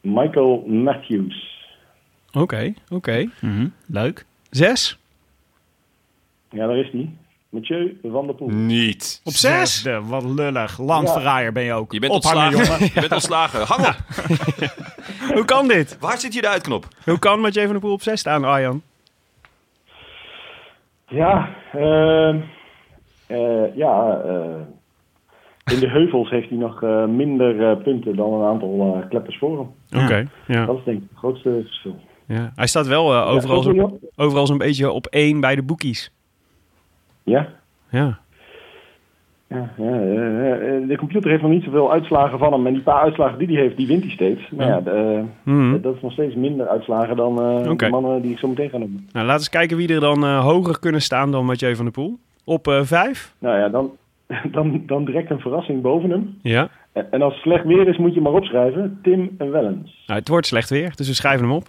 Michael Matthews. Oké, oké. Mhm, Leuk. Zes. Ja, daar is hij. Mathieu van der Poel. Niet. Op zes. Zesde, wat lullig. Landverraaier ben je ook. Je bent Ophangen, ontslagen. jongen. Je bent ontslagen. Hang op. Hoe kan dit? Waar zit hier de uitknop? Hoe kan Mathieu van der Poel op zes staan, Arjan? Ja, ehm, eh, ja eh, in de heuvels heeft hij nog eh, minder eh, punten dan een aantal eh, kleppers voor hem. Oké. Ja. Dat is denk ik het grootste verschil. ja. Hij staat wel eh, overal, Ja, zo, overal zo'n beetje op één bij de boekies. ja. Ja. Ja, ja, eh, eh, de computer heeft nog niet zoveel uitslagen van hem. En die paar uitslagen die hij heeft, die wint hij steeds. Maar ja, de, eh, Hmm. dat is nog steeds minder uitslagen dan eh, Oké. de mannen die ik zo meteen ga noemen. Nou, laten we eens kijken wie er dan eh, hoger kunnen staan dan Mathieu van der Poel. Op eh, vijf? Nou ja, dan, dan, dan direct een verrassing boven hem. Ja. En, en als het slecht weer is, moet je maar opschrijven. Tim en Wellens. Nou, het wordt slecht weer, dus we schrijven hem op.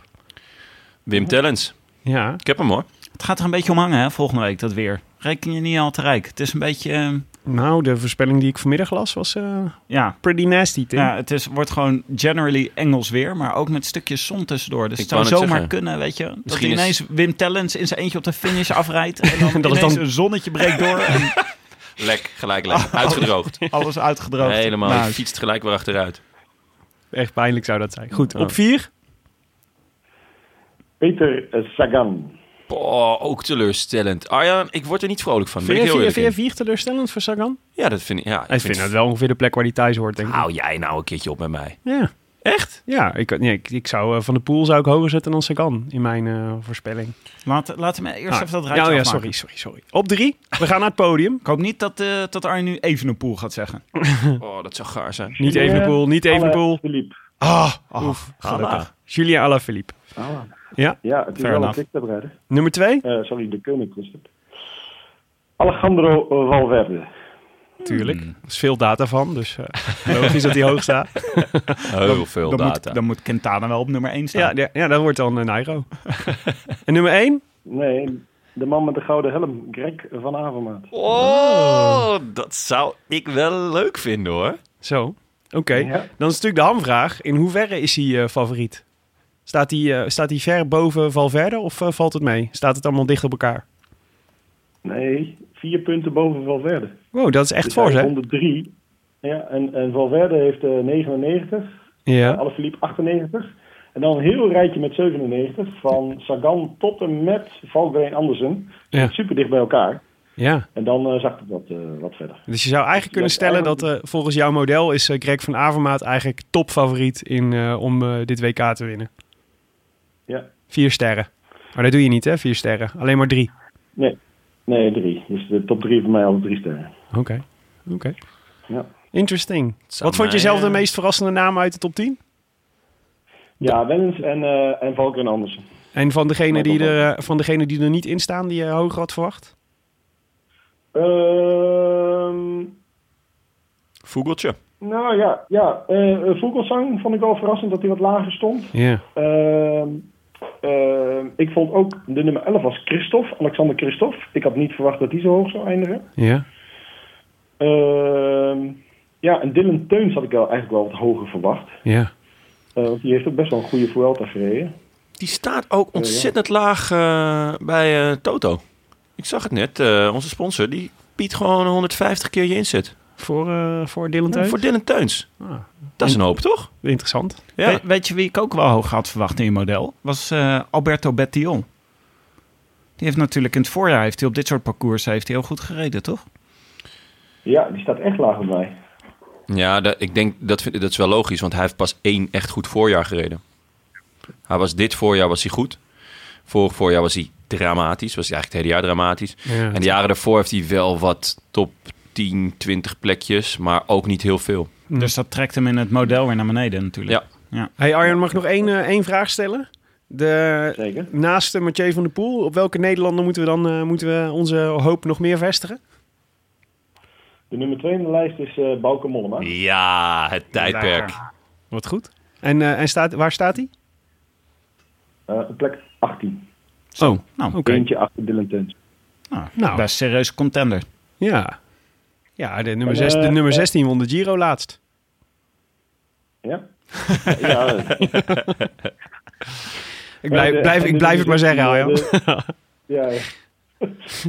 Wim Tellens. Ja. Ik heb hem hoor. Het gaat er een beetje om hangen, hè, volgende week, dat weer. Reken je niet al te rijk. Het is een beetje... eh, Nou, de voorspelling die ik vanmiddag las was eh, ja, pretty nasty, Tim. ja, het is, wordt gewoon generally Engels weer, maar ook met stukjes zon tussendoor. Ik Dus het zou wou net zomaar zeggen. kunnen, weet je. Dat Misschien ineens Wim Tellens in zijn eentje op de finish afrijdt. En dan Dat is ineens dan- een zonnetje breekt door en Lek, gelijk lek. Uitgedroogd. alles uitgedroogd. Helemaal. Nou, Je fietst gelijk weer achteruit. Echt pijnlijk zou dat zijn. Goed, Ja. op vier? Peter eh, Sagan. Oh, ook teleurstellend. Arjan, ik word er niet vrolijk van. Ben Vind ik je- heel vind je- vind je eerlijk in. vier teleurstellend voor Sagan? Ja, dat vind ik. Ja, Ik vind dat wel ongeveer de plek waar hij thuis hoort, denk ik. Hou jij nou een keertje op met mij. Ja. Echt? Ja, ik, nee, ik, ik zou eh, Van de Poel zou ik hoger zetten dan Sagan in mijn eh, voorspelling. laat, laat hem eerst Ah, even dat ja, rijtje oh ja, afmaken. sorry, sorry, sorry. Op drie, we gaan naar het podium. Ik hoop niet dat, eh dat Arjen nu even een poel gaat zeggen. Oh, dat zou gaar zijn. Niet Evenepoel, niet Evenepoel. Philippe. Ah, oef, gelukkig. Julien Alaphilippe. Ja, het is Fair wel enough. een kliksteprijder. Nummer twee? Eh sorry, de koning was het. Alejandro Valverde. Hmm. Tuurlijk. Er is veel data van, dus eh, logisch dat hij hoog staat. Heel veel Dan data. moet, dan moet Quintana wel op nummer 1 staan. Ja, ja, ja, dat wordt dan een Nairo. en nummer één? Nee, de man met de gouden helm, Greg van Avermaat. Oh, dat zou ik wel leuk vinden hoor. Zo, oké. Ja. Dan is natuurlijk de hamvraag. In hoeverre is hij eh, favoriet? Staat hij, eh, staat hij ver boven Valverde of eh, valt het mee? Staat het allemaal dicht op elkaar? Nee, vier punten boven Valverde. Wow, dat is echt Dus voor, hij hè? is 103. Ja, en, en Valverde heeft eh 99, Ja. Alaphilippe 98. En dan een heel rijtje met 97, van Sagan tot en met Valverde Andersen. Ja. Super dicht bij elkaar. ja. En dan eh, zag het wat, eh, wat verder. Dus je zou eigenlijk kunnen Ja, stellen dat eigenlijk- eh, volgens jouw model is eh, Greg van Avermaat eigenlijk topfavoriet in, eh, om eh, dit WK te winnen. Ja. Vier sterren. Maar dat doe je niet, hè? Vier sterren. Alleen maar drie. Nee, drie. Dus de top drie voor mij alle drie sterren. Oké. Oké. Ja. Interesting. zou Wat vond je mij, zelf de eh, meest verrassende naam uit de top 10? Ja, Wellens en, eh en Valken Andersen. En van degene, Michael die er, eh, van degene die er niet in staan, die je hoger had verwacht? Ehm, Vogeltje. nou ja, ja. eh eh, Vogelsang vond ik wel verrassend dat hij wat lager stond. Ja. Ehm, ehm, ik vond ook de nummer 11 was Christophe, Alexander Christophe. Ik had niet verwacht dat hij zo hoog zou eindigen. Ja. Ehm, ja, en Dylan Teuns had ik wel, eigenlijk wel wat hoger verwacht. Ja. Eh, want die heeft ook best wel een goede Vuelta gereden. Die staat ook ontzettend laag eh, bij eh, Toto. Ik zag het net. eh, onze sponsor die biedt gewoon 150 keer je inzet. Voor, eh, voor Dylan Ja, Teuns? voor Dylan Teuns. Ah. Dat is een hoop, toch? Interessant. Ja. We- weet je wie ik ook wel hoog had verwacht in je model? Was eh, Alberto Bettiol. Die heeft natuurlijk in het voorjaar, heeft hij op dit soort parcours, heeft hij heel goed gereden, toch? Ja, die staat echt laag bij mij. Ja, dat, ik denk dat, vind, dat is wel logisch, want hij heeft pas één echt goed voorjaar gereden. Hij was, dit voorjaar was hij goed. Vorig voorjaar was hij dramatisch. Was hij eigenlijk het hele jaar dramatisch. Ja. En de jaren daarvoor heeft hij wel wat top 10, 20 plekjes, maar ook niet heel veel. Dus dat trekt hem in het model weer naar beneden natuurlijk. Ja. Hey Arjen, mag ik nog één, eh, één vraag stellen? De, Zeker. naast eh, Mathieu van der Poel, op welke Nederlander moeten we dan eh, moeten we onze hoop nog meer vestigen? De nummer 2 in de lijst is eh Bauke Mollema. Ja, het tijdperk. Wat goed. En, eh, en staat, waar staat hij? Eh, op plek 18. Zo, nou, Oké. Eentje achter Dylan Teuns. nou, Nou. best serieus contender. Ja. Ja, de nummer, En, zes, de eh, nummer eh, 16 won de Giro laatst. Ja? ja, eh, Ik blijf, Ja, de- blijf, en ik de blijf het maar nummer zeggen, Arjan. 16, eh, de- ja,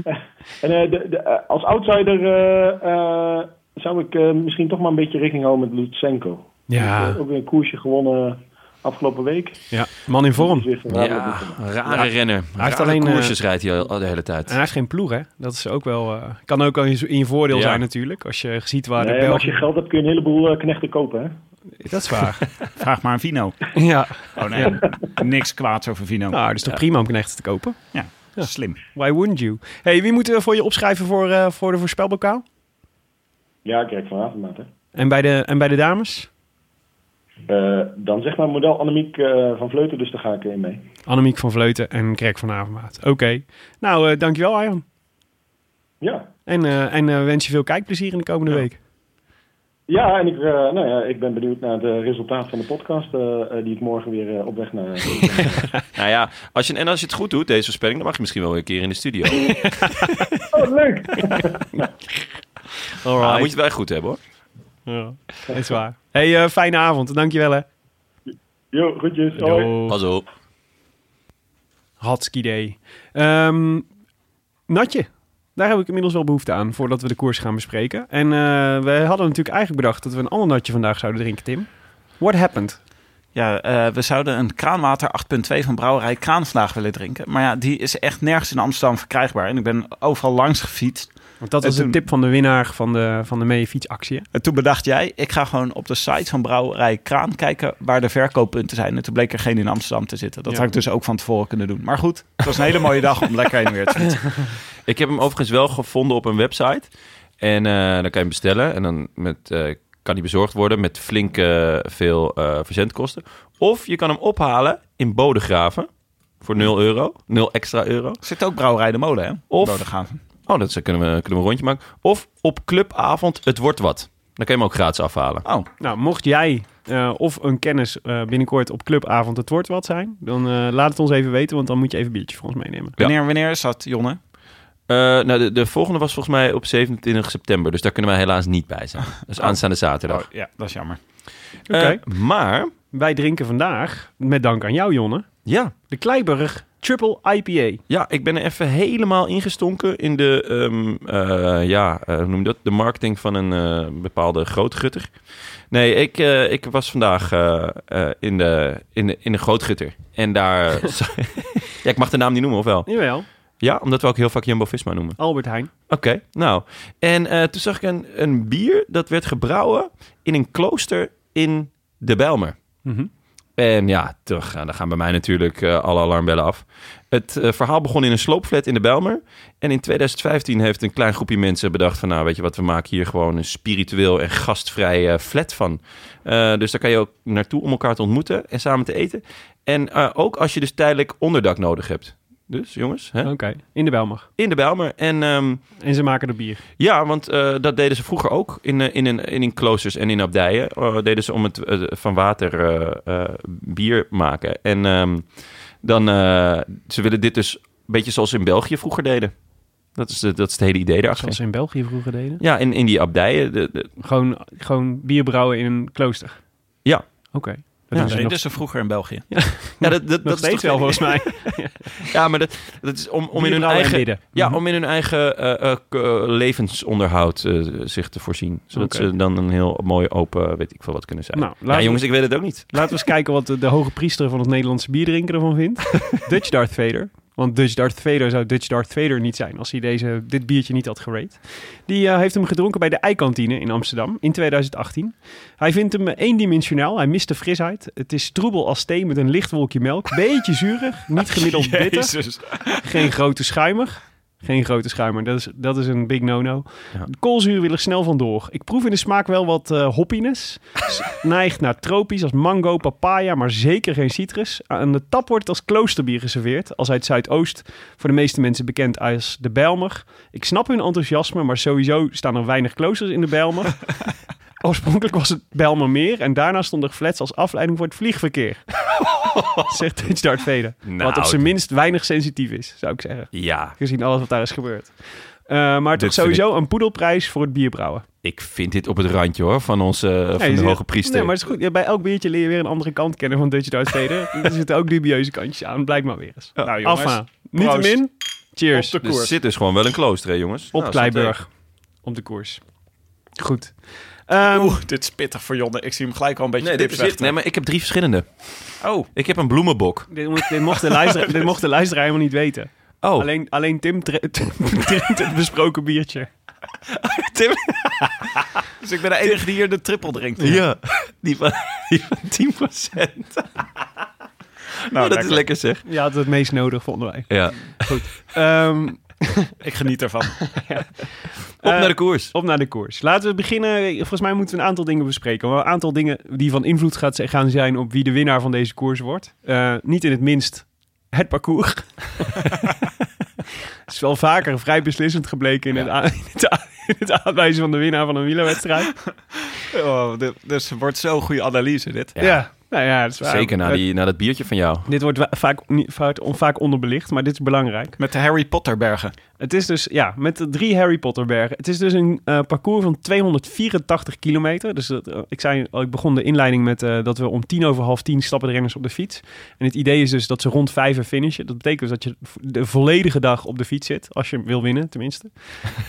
ja. en eh, de, de, eh, als outsider eh, eh, zou ik eh, misschien toch maar een beetje rekening houden met Lutsenko. Ja, Ook weer een koersje gewonnen afgelopen week. ja, man in vorm. Dus weer van Radler Ja, Lutsenko. rare renner. Hij heeft heeft alleen, alleen eh, koersjes rijdt hij al de hele En hij tijd. heeft geen ploeg, hè? Dat is ook wel. eh, kan ook al in in je voordeel Ja. zijn, natuurlijk. Als je ziet waar Nee, de maar als je Belgen. geld hebt kun je een heleboel eh, knechten kopen. Hè? Dat is waar. Vraag maar aan Vino. ja. Oh nee, niks kwaads over Vino. Nou, dat is toch prima om knechten te kopen? Ja, slim. Why wouldn't you? hey, wie moeten we voor je opschrijven voor, eh, voor de voorspelbokaal? Ja, ik kijk vanavond maar. Hè. En bij de, en bij de dames? Eh, dan zeg maar model Annemiek eh, van Vleuten, dus daar ga ik in mee. Annemiek van Vleuten en Greg van Avermaat. Oké. Nou, eh, dankjewel Arjan. Ja, En, eh, en eh, wens je veel kijkplezier in de komende week. ja en ik, eh, nou ja, ik ben benieuwd naar het eh, resultaat van de podcast eh, eh, die ik morgen weer eh, op weg naar... Nou ja, als je, en als je het goed doet, deze voorspelling, dan mag je misschien wel weer een keer in de studio. oh, leuk! Maar Alright. Ah, moet je het wel goed hebben hoor. Ja, dat is waar. hey, eh, fijne avond. Dankjewel hè. Jo, groetjes. Hoi. Pas op. Hatsk idee. Ehm, natje. Daar heb ik inmiddels wel behoefte aan voordat we de koers gaan bespreken. En eh, we hadden natuurlijk eigenlijk bedacht dat we een ander natje vandaag zouden drinken, Tim. What happened? Ja, eh, we zouden een kraanwater 8.2 van brouwerij Kraan vandaag willen drinken. Maar ja, die is echt nergens in Amsterdam verkrijgbaar. En ik ben overal langs gefietst. Want dat was Eh, de toen- tip van de winnaar van de, van de meefietsactie. hè? En toen bedacht jij, ik ga gewoon op de site van brouwerij Kraan kijken waar de verkooppunten zijn. En toen bleek er geen in Amsterdam te zitten. Dat Ja. had ik dus ook van tevoren kunnen doen. Maar goed, het was een hele mooie dag om lekker heen en weer te fietsen. Ik heb hem overigens wel gevonden op een website. En eh, dan kan je hem bestellen. En dan met, eh, kan hij bezorgd worden met flink eh, veel eh, verzendkosten. Of je kan hem ophalen in Bodegraven. Voor 0 euro. 0 extra euro. Er Zit ook brouwerij de molen, hè? Of- Bodegraven. Oh, dat is- kunnen we, kunnen we een rondje maken. Of op clubavond Het Wordt Wat. Dan kan je hem ook gratis afhalen. Oh, Nou, mocht jij eh, of een kennis eh, binnenkort op clubavond het woord wat zijn, dan eh, laat het ons even weten, want dan moet je even een biertje voor ons meenemen. Ja. wanneer, wanneer is dat, Jonne? Eh, nou, de, de volgende was volgens mij op 27 september. Dus daar kunnen wij helaas niet bij zijn. Dus aanstaande zaterdag. Oh, ja, dat is jammer. Oké. Eh, maar, Wij drinken vandaag, met dank aan jou Jonne, ja. de Kleiberg Triple IPA. Ja, ik ben er even helemaal ingestonken in de, ehm, eh, ja, eh, hoe noem je dat? De marketing van een eh, bepaalde grootgutter. Nee, ik, eh, ik was vandaag eh, eh, in, de, in, de, in de grootgutter. En daar... ja, ik mag de naam niet noemen, of wel? Jawel, Ja, omdat we ook heel vaak Jumbo-Visma noemen. Albert Heijn. Oké, nou. En eh, toen zag ik een, een bier dat werd gebrouwen in een klooster in de Bijlmer. Mhm. En ja, toch, eh, dan gaan bij mij natuurlijk eh, alle alarmbellen af. Het eh, verhaal begon in een sloopflat in de Bijlmer. En in 2015 heeft een klein groepje mensen bedacht van... nou, weet je wat, we maken hier gewoon een spiritueel en gastvrij eh, flat van. Eh, dus daar kan je ook naartoe om elkaar te ontmoeten en samen te eten. En eh, ook als je dus tijdelijk onderdak nodig hebt. Dus jongens, hè? Oké, in de Belmag. in de Bijlmer. En ehm, En ze maken er bier. ja, want eh, dat deden ze vroeger ook in, eh, in, een- in, in kloosters en in abdijen. Eh, deden ze om het eh, van water eh, eh, bier maken. En ehm, dan, eh, ze willen dit dus een beetje zoals ze in België vroeger deden. Dat is, de, dat is het hele idee Zoals daarachter. ze in België vroeger deden. Ja, in, in die abdijen. De, de- Gewoon, gewoon bier brouwen in een klooster. Ja. Oké. Dat Ja, doen ze Nee, nog, dat is er vroeger in België. ja, dat, dus dat, nog dat steeds is wel toch- volgens mij. Ja, maar dat, dat is om, om in hun Bierbrouwen en eigen... bidden. Mhm. Ja, om in hun eigen eh, eh, k- eh, levensonderhoud eh, zich te voorzien. Zodat Oké. ze dan een heel mooi open, weet ik veel wat kunnen zijn. Nou, laten ja, we- jongens, ik weet het ook niet. Laten we eens kijken wat de, de hoge priester van het Nederlandse bierdrinken ervan vindt. Dutch Darth Vader. Want Dutch Darth Vader zou Dutch Darth Vader niet zijn als hij deze, dit biertje niet had gerate. Die eh, heeft hem gedronken bij de Eikantine in Amsterdam in 2018. Hij vindt hem eh, eendimensionaal. Hij mist de frisheid. Het is troebel als thee met een licht wolkje melk. Beetje zuurig. Niet gemiddeld bitter. Geen grote schuimer. Geen grote schuimer, dat is, dat is een big no-no. Ja. De Koolzuur wil er snel vandoor. Ik proef in de smaak wel wat eh hoppiness. S- Neigt naar tropisch als mango, papaya, maar zeker geen citrus. Aan de tap wordt het als kloosterbier geserveerd. Als uit Zuidoost, voor de meeste mensen bekend als de Bijlmer. Ik snap hun enthousiasme, maar sowieso staan er weinig kloosters in de Bijlmer. Oorspronkelijk was het Bijlmermeer en daarna stonden er flats als afleiding voor het vliegverkeer. Zegt Dutch Dart Vader. Nou, wat op zijn minst weinig sensitief is, zou ik zeggen Ja, gezien alles wat daar is gebeurd. Eh, maar toch Dit sowieso een poedelprijs voor het bierbrouwen. Ik vind dit op het randje hoor, van onze eh, Nee, van je de ziet- hoge priester. Nee, maar het is goed. Ja, bij elk biertje leer je weer een andere kant kennen van Dutch Darth Vader. er zitten ook dubieuze kantjes aan. Blijkt maar weer Oh, eens. Nou, jongens, Afma, niettemin. Cheers. Dus er zit dus gewoon wel een klooster, hè, jongens. Op Nou, zat Kleiburg. Op de koers. Goed. Ehm, Oeh, dit is pittig voor Jonne. Ik zie hem gelijk al een er. beetje Nee, dit is dit. nee, maar ik heb drie verschillende. Oh. Ik heb een bloemenbok. dit, moet- dit mocht de luisteraar, dit mocht de luisteraar helemaal niet weten. Oh, Alleen, alleen Tim dre- Tim drinkt het besproken biertje. Dus ik ben de enige die hier de triple drinkt. ja. Die van, die van 10 procent. Nou, Nou, Nou, dat is lekker zeg. Je had het meest nodig, vonden wij. Ja. Ehm, Ik geniet ervan. Op Eh, naar de koers. Op naar de koers. Laten we beginnen. Volgens mij moeten we een aantal dingen bespreken. Wel Een aantal dingen die van invloed gaat- gaan zijn op wie de winnaar van deze koers wordt. Eh, niet in het minst het parcours. Het is wel vaker vrij beslissend gebleken in, het, aan- in het aan- in het aanwijzen van de winnaar van een wielerwedstrijd. Oh, dit, dus het wordt zo'n goede analyse dit. Ja. Nou ja, dat is waar. Zeker na, Eh, die, na dat biertje van jou. Dit wordt wa- vaak, niet- vaak, on- vaak onderbelicht, maar dit is belangrijk. Met de Harry Potter bergen. Het is dus, ja, met de drie Harry Potter bergen. Het is dus een eh, parcours van 284 kilometer. Dus dat, eh, ik zei al, ik begon de inleiding met eh, dat we om tien over half tien stappen de renners op de fiets. En het idee is dus dat ze rond vijven finishen. Dat betekent dus dat je de volledige dag op de fiets zit, als je wil winnen tenminste.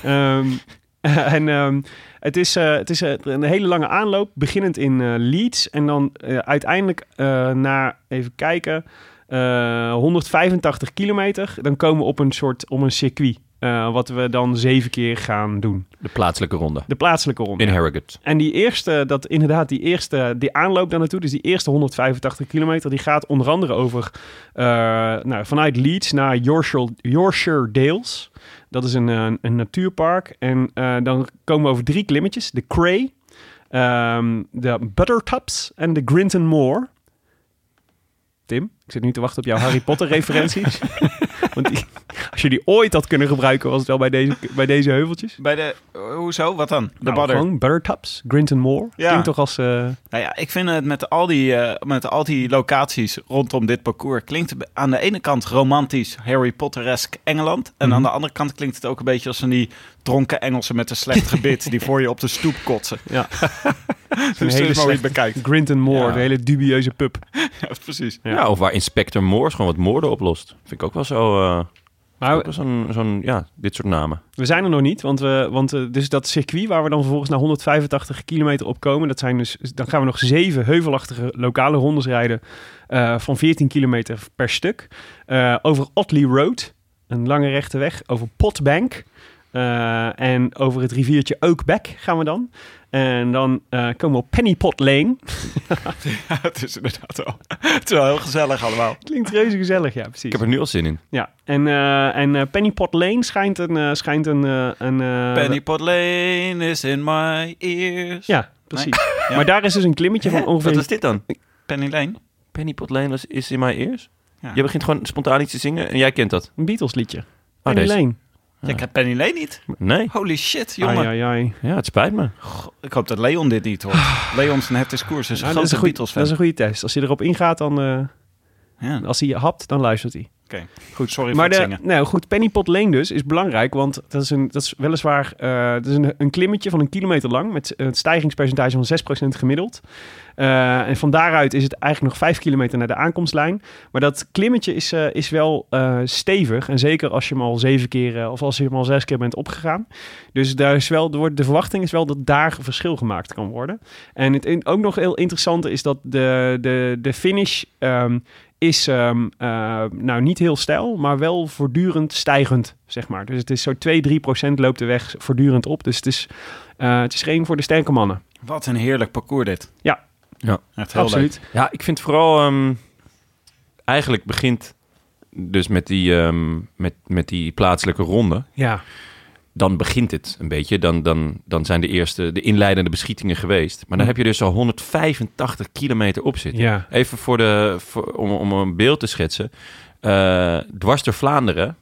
Ehm, en ehm, het is, eh, het is eh, een hele lange aanloop, beginnend in eh, Leeds. En dan eh, uiteindelijk eh, naar, even kijken, eh, 185 kilometer. Dan komen we op een soort, om een circuit. eh, wat we dan zeven keer gaan doen. De plaatselijke ronde. De plaatselijke ronde. In Harrogate. En die eerste, dat inderdaad, die eerste, die aanloop daar naartoe, dus die eerste 185 kilometer, die gaat onder andere over eh, nou, vanuit Leeds naar Yorkshire, Yorkshire Dales. Dat is een, eh, een, natuurpark. En eh, dan komen we over drie klimmetjes: de Cray, ehm, de Buttertups en de Grinton Moor. Tim, ik zit nu te wachten op jouw Harry Potter referenties. Want die, als je die ooit had kunnen gebruiken, was het wel bij deze, bij deze heuveltjes. Bij de... Hoezo? Wat dan? De Nou, badder. Gewoon Buttertups, Grinton Moor. Ja. Klinkt toch als... eh, Nou ja, ik vind het met al die, eh, met al die locaties rondom dit parcours... klinkt het aan de ene kant romantisch Harry Potter-esk Engeland... en Mhm. aan de andere kant klinkt het ook een beetje als van die dronken Engelsen... met een slecht gebit die voor je op de stoep kotsen. Ja. dus hele dat is maar hoe je het slechte- bekijkt. Grinton Moor, Ja. de hele dubieuze pub. Ja, precies. Ja. Ja. of waar Inspector Moors gewoon wat moorden oplost. Vind ik ook wel zo... eh, ook Maar wel zo'n, zo'n, ja, dit soort namen. we zijn er nog niet, want, we, want eh, dus dat circuit waar we dan vervolgens na 185 kilometer op komen, dat zijn dus, dan gaan we nog zeven heuvelachtige lokale rondes rijden eh, van 14 kilometer per stuk. Eh, over Otley Road, een lange rechte weg, over Potbank eh, en over het riviertje Oakbeck gaan we dan. En dan eh, komen we op Pennypot Lane. Ja, het is inderdaad wel, het is wel heel gezellig allemaal. Klinkt reuze gezellig, ja Ik precies. heb er nu al zin in. Ja, en, eh, en eh, Pennypot Lane schijnt een... eh, schijnt een, eh, een eh, Pennypot Lane is in my ears. Ja, precies. Maar daar is dus een klimmetje van ongeveer... Wat is dit dan? Penny Lane. Penny Pot Lane was- is in my ears? Ja. Je begint gewoon spontaan iets te zingen en jij kent dat. Een Beatles liedje. Oh, Penny deze. Lane. Ik heb Penny Lane niet. Nee. Holy shit, jongen. Ai, ai, ai. Ja, het spijt me. Ik hoop dat Leon dit niet hoort. Leon zijn het discours is een Ja, Ah, dat, is grote een goeie, dat Beatles fan. is een goede test. Als je erop ingaat, dan... eh, Ja. Oké, als hij je hapt, dan luistert hij. goed, Maar sorry voor het de, zingen. nou goed, Pennypot Lane dus is belangrijk, want dat is, een, dat is weliswaar eh, dat is een, een klimmetje van een kilometer lang met een stijgingspercentage van 6% gemiddeld. Eh, en van daaruit is het eigenlijk nog 5 kilometer naar de aankomstlijn. Maar dat klimmetje is, eh, is wel eh, stevig en zeker als je hem al zeven keer eh, of als je hem al zes keer bent opgegaan. Dus daar is wel, er wordt- de verwachting is wel dat daar een verschil gemaakt kan worden. En het in- ook nog heel interessante is dat de, de, de finish ehm, is ehm, eh, nou niet heel stijl, maar wel voortdurend stijgend, zeg maar. Dus het is zo 2-3 procent loopt de weg voortdurend op. Dus het is, eh, het is geen voor de sterke mannen. Wat een heerlijk parcours dit. Ja. Ja. Echt heel Absoluut. Ja, ik vind vooral... ehm, eigenlijk begint dus met die, ehm, met, met die plaatselijke ronde. Ja. Dan begint het een beetje. Dan, dan, dan zijn de eerste, de inleidende beschietingen geweest. Maar dan heb je dus al 185 kilometer op zitten. Ja. Even voor de, voor- om, om een beeld te schetsen. Eh dwars door Vlaanderen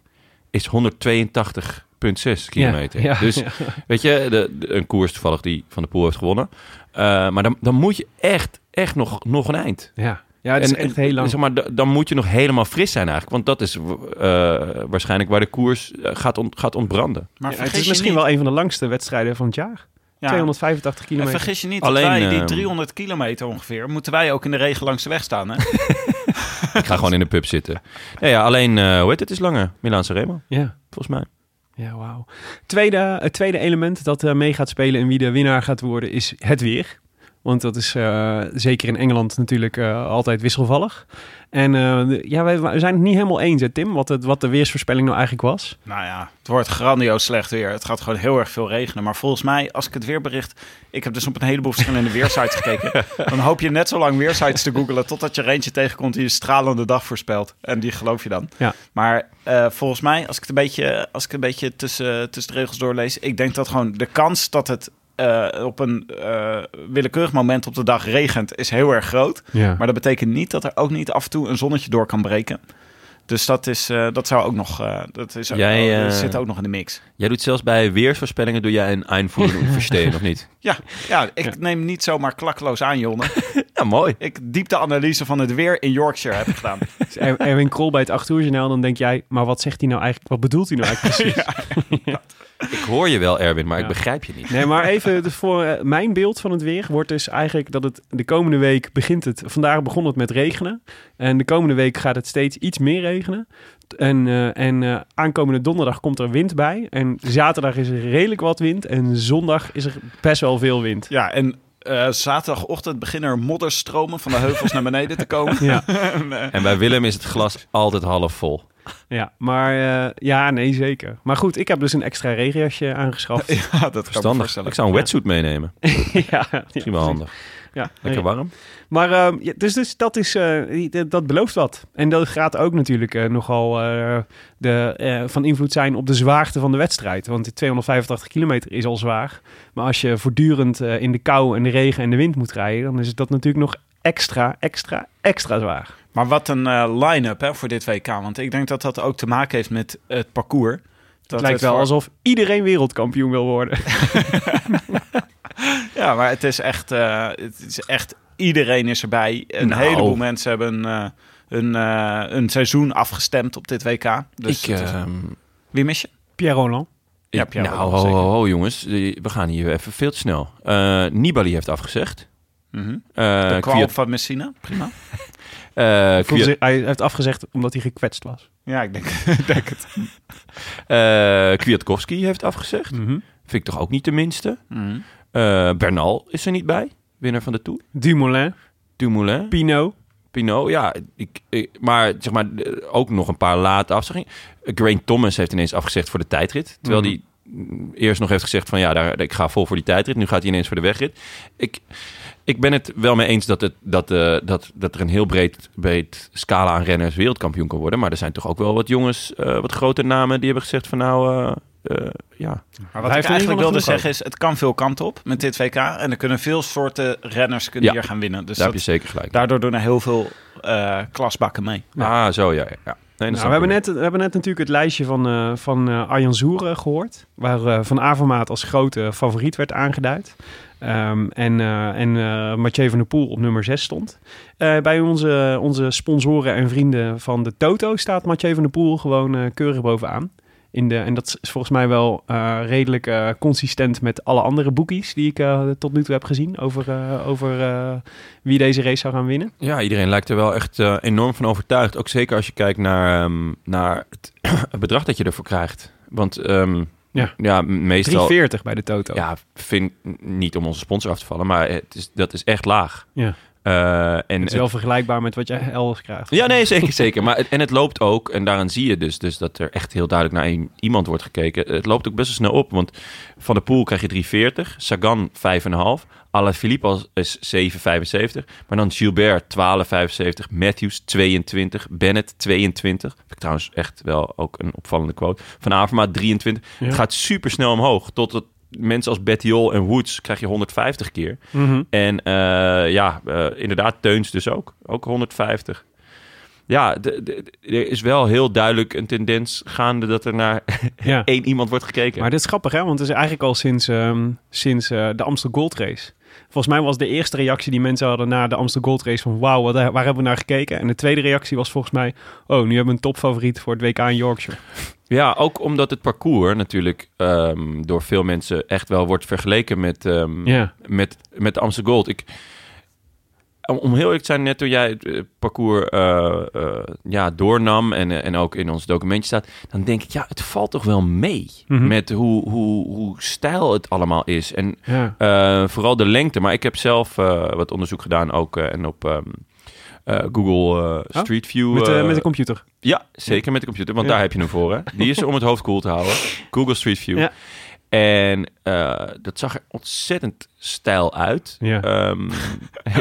is 182,6 kilometer. ja, dus ja. weet je, de, de- een koers toevallig die Van de Poel heeft gewonnen. Eh, maar dan, dan moet je echt, echt nog, nog een eind. Ja. Ja, het is En- echt heel lang. dus- Zeg maar, d- dan moet je nog helemaal fris zijn eigenlijk. Want dat is w- eh, waarschijnlijk waar de koers eh, gaat, ont- gaat ontbranden. Maar Ja, vergis het is je misschien niet, wel een van de langste wedstrijden van het jaar. ja, 285 en kilometer. vergis je niet Alleen, dat wij die ehm, 300 kilometer ongeveer... moeten wij ook in de regen langs de weg staan, hè? Ik ga gewoon in de pub zitten. Nou ja, alleen, eh, hoe heet het, is langer. Milaanse Remo, Ja. volgens mij. Ja, wauw. Tweede, het tweede element dat eh, mee gaat spelen en wie de winnaar gaat worden is het weer. Want dat is eh, zeker in Engeland natuurlijk eh, altijd wisselvallig. En eh, de- ja, wij- we zijn het niet helemaal eens, hè, Tim, wat, het, wat de weersvoorspelling nou eigenlijk was. Nou ja, het wordt grandioos slecht weer. Het gaat gewoon heel erg veel regenen. Maar volgens mij, als ik het weerbericht... Ik heb dus op een heleboel verschillende weersites gekeken. Dan hoop je net zo lang weersites te googelen... totdat je er eentje tegenkomt die een stralende dag voorspelt. En die geloof je dan. Ja. Maar eh, volgens mij, als ik het een beetje, als ik het een beetje tussen, tussen de regels doorlees... ik denk dat gewoon de kans dat het eh, op een eh, willekeurig moment op de dag regent... is heel erg groot. Ja. Maar dat betekent niet dat er ook niet af en toe een zonnetje door kan breken. Dus dat, is, eh, dat zou ook nog. eh, dat is ook- Jij, oh, dat eh, zit ook nog in de mix. Jij doet zelfs bij weersvoorspellingen doe jij een Einvoerung verstehen, of niet? Ja, ja ik neem niet zomaar klakkeloos aan, Jonne. Ja, mooi. ik diepteanalyse van het weer in Yorkshire heb ik gedaan. Dus Er- Erwin Krol bij het 8 uur journaal, dan denk jij, maar wat zegt hij nou eigenlijk, wat bedoelt hij nou eigenlijk precies? Ik hoor je wel, Erwin, maar Ja. ik begrijp je niet. Nee, maar even dus voor eh, mijn beeld van het weer wordt dus eigenlijk dat het de komende week begint het. Vandaag begon het met regenen en de komende week gaat het steeds iets meer regenen. En, eh, en eh, aankomende donderdag komt er wind bij en zaterdag is er redelijk wat wind en zondag is er best wel veel wind. Ja, en eh, zaterdagochtend beginnen er modderstromen van de heuvels naar beneden te komen. Ja, En bij Willem is het glas altijd half vol. ja maar eh, ja, nee, zeker. Maar goed, ik heb dus een extra regenjasje aangeschaft. Ja, dat kan ik me Verstandig. voorstellen. Ik zou een wetsuit meenemen. ja, Misschien wel handig. Ja, Lekker warm. Maar ehm, ja, dus, dus dat, is, eh, die- dat belooft wat. En dat gaat ook natuurlijk eh, nogal eh, de, eh, van invloed zijn op de zwaarte van de wedstrijd. Want die 285 kilometer is al zwaar. Maar als je voortdurend eh, in de kou en de regen en de wind moet rijden, dan is dat natuurlijk nog extra, extra, extra zwaar. Maar wat een eh, line-up hè, voor dit WK. Want ik denk dat dat ook te maken heeft met het parcours. Dat het lijkt wel voor- alsof iedereen wereldkampioen wil worden. Ja, maar het is echt, eh, het is echt iedereen is erbij. Een Nou. heleboel mensen hebben eh, hun, eh, hun seizoen afgestemd op dit WK. Dus ik, het is- ehm, wie mis je? Pierre Roland. Ja, ik- Pierre nou, wel, ho, zeker. ho, ho, jongens. Eh, We gaan hier even veel te snel. Eh, Nibali heeft afgezegd. Eh, Mhm. de kwal Kwiat- van Messina, prima. eh, Voelde Kwiat- zich- Hij heeft afgezegd omdat hij gekwetst was. Ja, ik denk, het. eh, Kwiatkowski heeft afgezegd. Mhm. Vind ik toch ook niet de minste. Eh, Bernal is er niet bij. Winnaar van de Tour. Dumoulin, Dumoulin. Pino. Pino, ja. Ik, ik- maar zeg maar, eh, ook nog een paar late afzeggingen. Eh, Geraint Thomas heeft ineens afgezegd voor de tijdrit. Terwijl Mhm. hij mm, eerst nog heeft gezegd van ja, daar, ik ga vol voor die tijdrit. Nu gaat hij ineens voor de wegrit. Ik, ik ben het wel mee eens dat, het, dat, eh, dat, dat er een heel breed, breed scala aan renners wereldkampioen kan worden. Maar er zijn toch ook wel wat jongens, eh, wat grote namen die hebben gezegd van nou, eh, eh, ja. Hij Maar wat ik heeft in ieder geval eigenlijk wilde genoeg zeggen is, het kan veel kanten op met dit WK. En er kunnen veel soorten renners kunnen Ja. hier gaan winnen. Dus daar heb dat- je zeker gelijk. daardoor doen er heel veel eh, klasbakken mee. Ah, zo ja. ja. ja. Nee, dat Nou, snap we, ik hebben wel. net, we hebben net natuurlijk het lijstje van, eh, van eh, Arjan Soeren gehoord. Waar eh, Van Avermaat als grote favoriet werd aangeduid. Ehm, en eh en eh, Mathieu van der Poel op nummer 6 stond. Eh, bij onze, onze sponsoren en vrienden van de Toto staat Mathieu van der Poel gewoon eh, keurig bovenaan. In de, en dat is volgens mij wel eh, redelijk eh, consistent met alle andere boekies die ik eh, tot nu toe heb gezien over, eh, over eh, wie deze race zou gaan winnen. Ja, iedereen lijkt er wel echt eh, enorm van overtuigd. Ook zeker als je kijkt naar, ehm, naar het, het bedrag dat je ervoor krijgt. Want ehm, Ja. ja. m- meestal... 3,40 bij de Toto. Ja, vind niet om onze sponsor af te vallen, maar het is, dat is echt laag. Ja. Eh, en Het is wel vergelijkbaar met wat jij elders krijgt. ja, nee, zeker, zeker. Maar het- en het loopt ook, en daaraan zie je dus, dus dat er echt heel duidelijk naar een- iemand wordt gekeken. Het loopt ook best wel snel op, want Van de Poel krijg je 3,40, Sagan 5,5, Alaphilippe als- is 7,75, maar dan Gilbert 12,75, Matthews 22, Bennett 22. Vind ik trouwens echt wel ook een opvallende quote. Van Avermaat 23. Ja. Het gaat super snel omhoog, tot het Mensen als Bettiol en Woods krijg je 150 keer. Mhm. En eh, ja, eh, inderdaad, Teuns dus ook. Ook 150. Ja, de- de- de- er is wel heel duidelijk een tendens gaande dat er naar Ja. één iemand wordt gekeken. Maar dit is grappig, hè? Want het is eigenlijk al sinds, ehm, sinds eh, de Amsterdam Gold Race. Volgens mij was de eerste reactie die mensen hadden na de Amsterdam Gold Race van... wauw, wat- eh, waar hebben we naar gekeken? En de tweede reactie was volgens mij... oh, nu hebben we een topfavoriet voor het WK in Yorkshire. Ja, ook omdat het parcours natuurlijk ehm, door veel mensen echt wel wordt vergeleken met, ehm, Ja, met, met de Amsterdam Gold. Ik, om- om heel eerlijk te zijn, net toen jij het eh, parcours eh, eh, ja, doornam en, eh, en ook in ons documentje staat, dan denk ik, ja, het valt toch wel mee Mhm. met hoe, hoe, hoe stijl het allemaal is. En Ja. eh, vooral de lengte. Maar ik heb zelf eh, wat onderzoek gedaan ook eh, en op ehm, eh, Google eh, Street View. Met, eh, eh, met de computer. ja, zeker met de computer, want Ja. daar heb je hem voor. Hè? Die is er om het hoofd koel te houden. Google Street View. Ja. En eh, dat zag er ontzettend stijl uit. Ja. Ehm,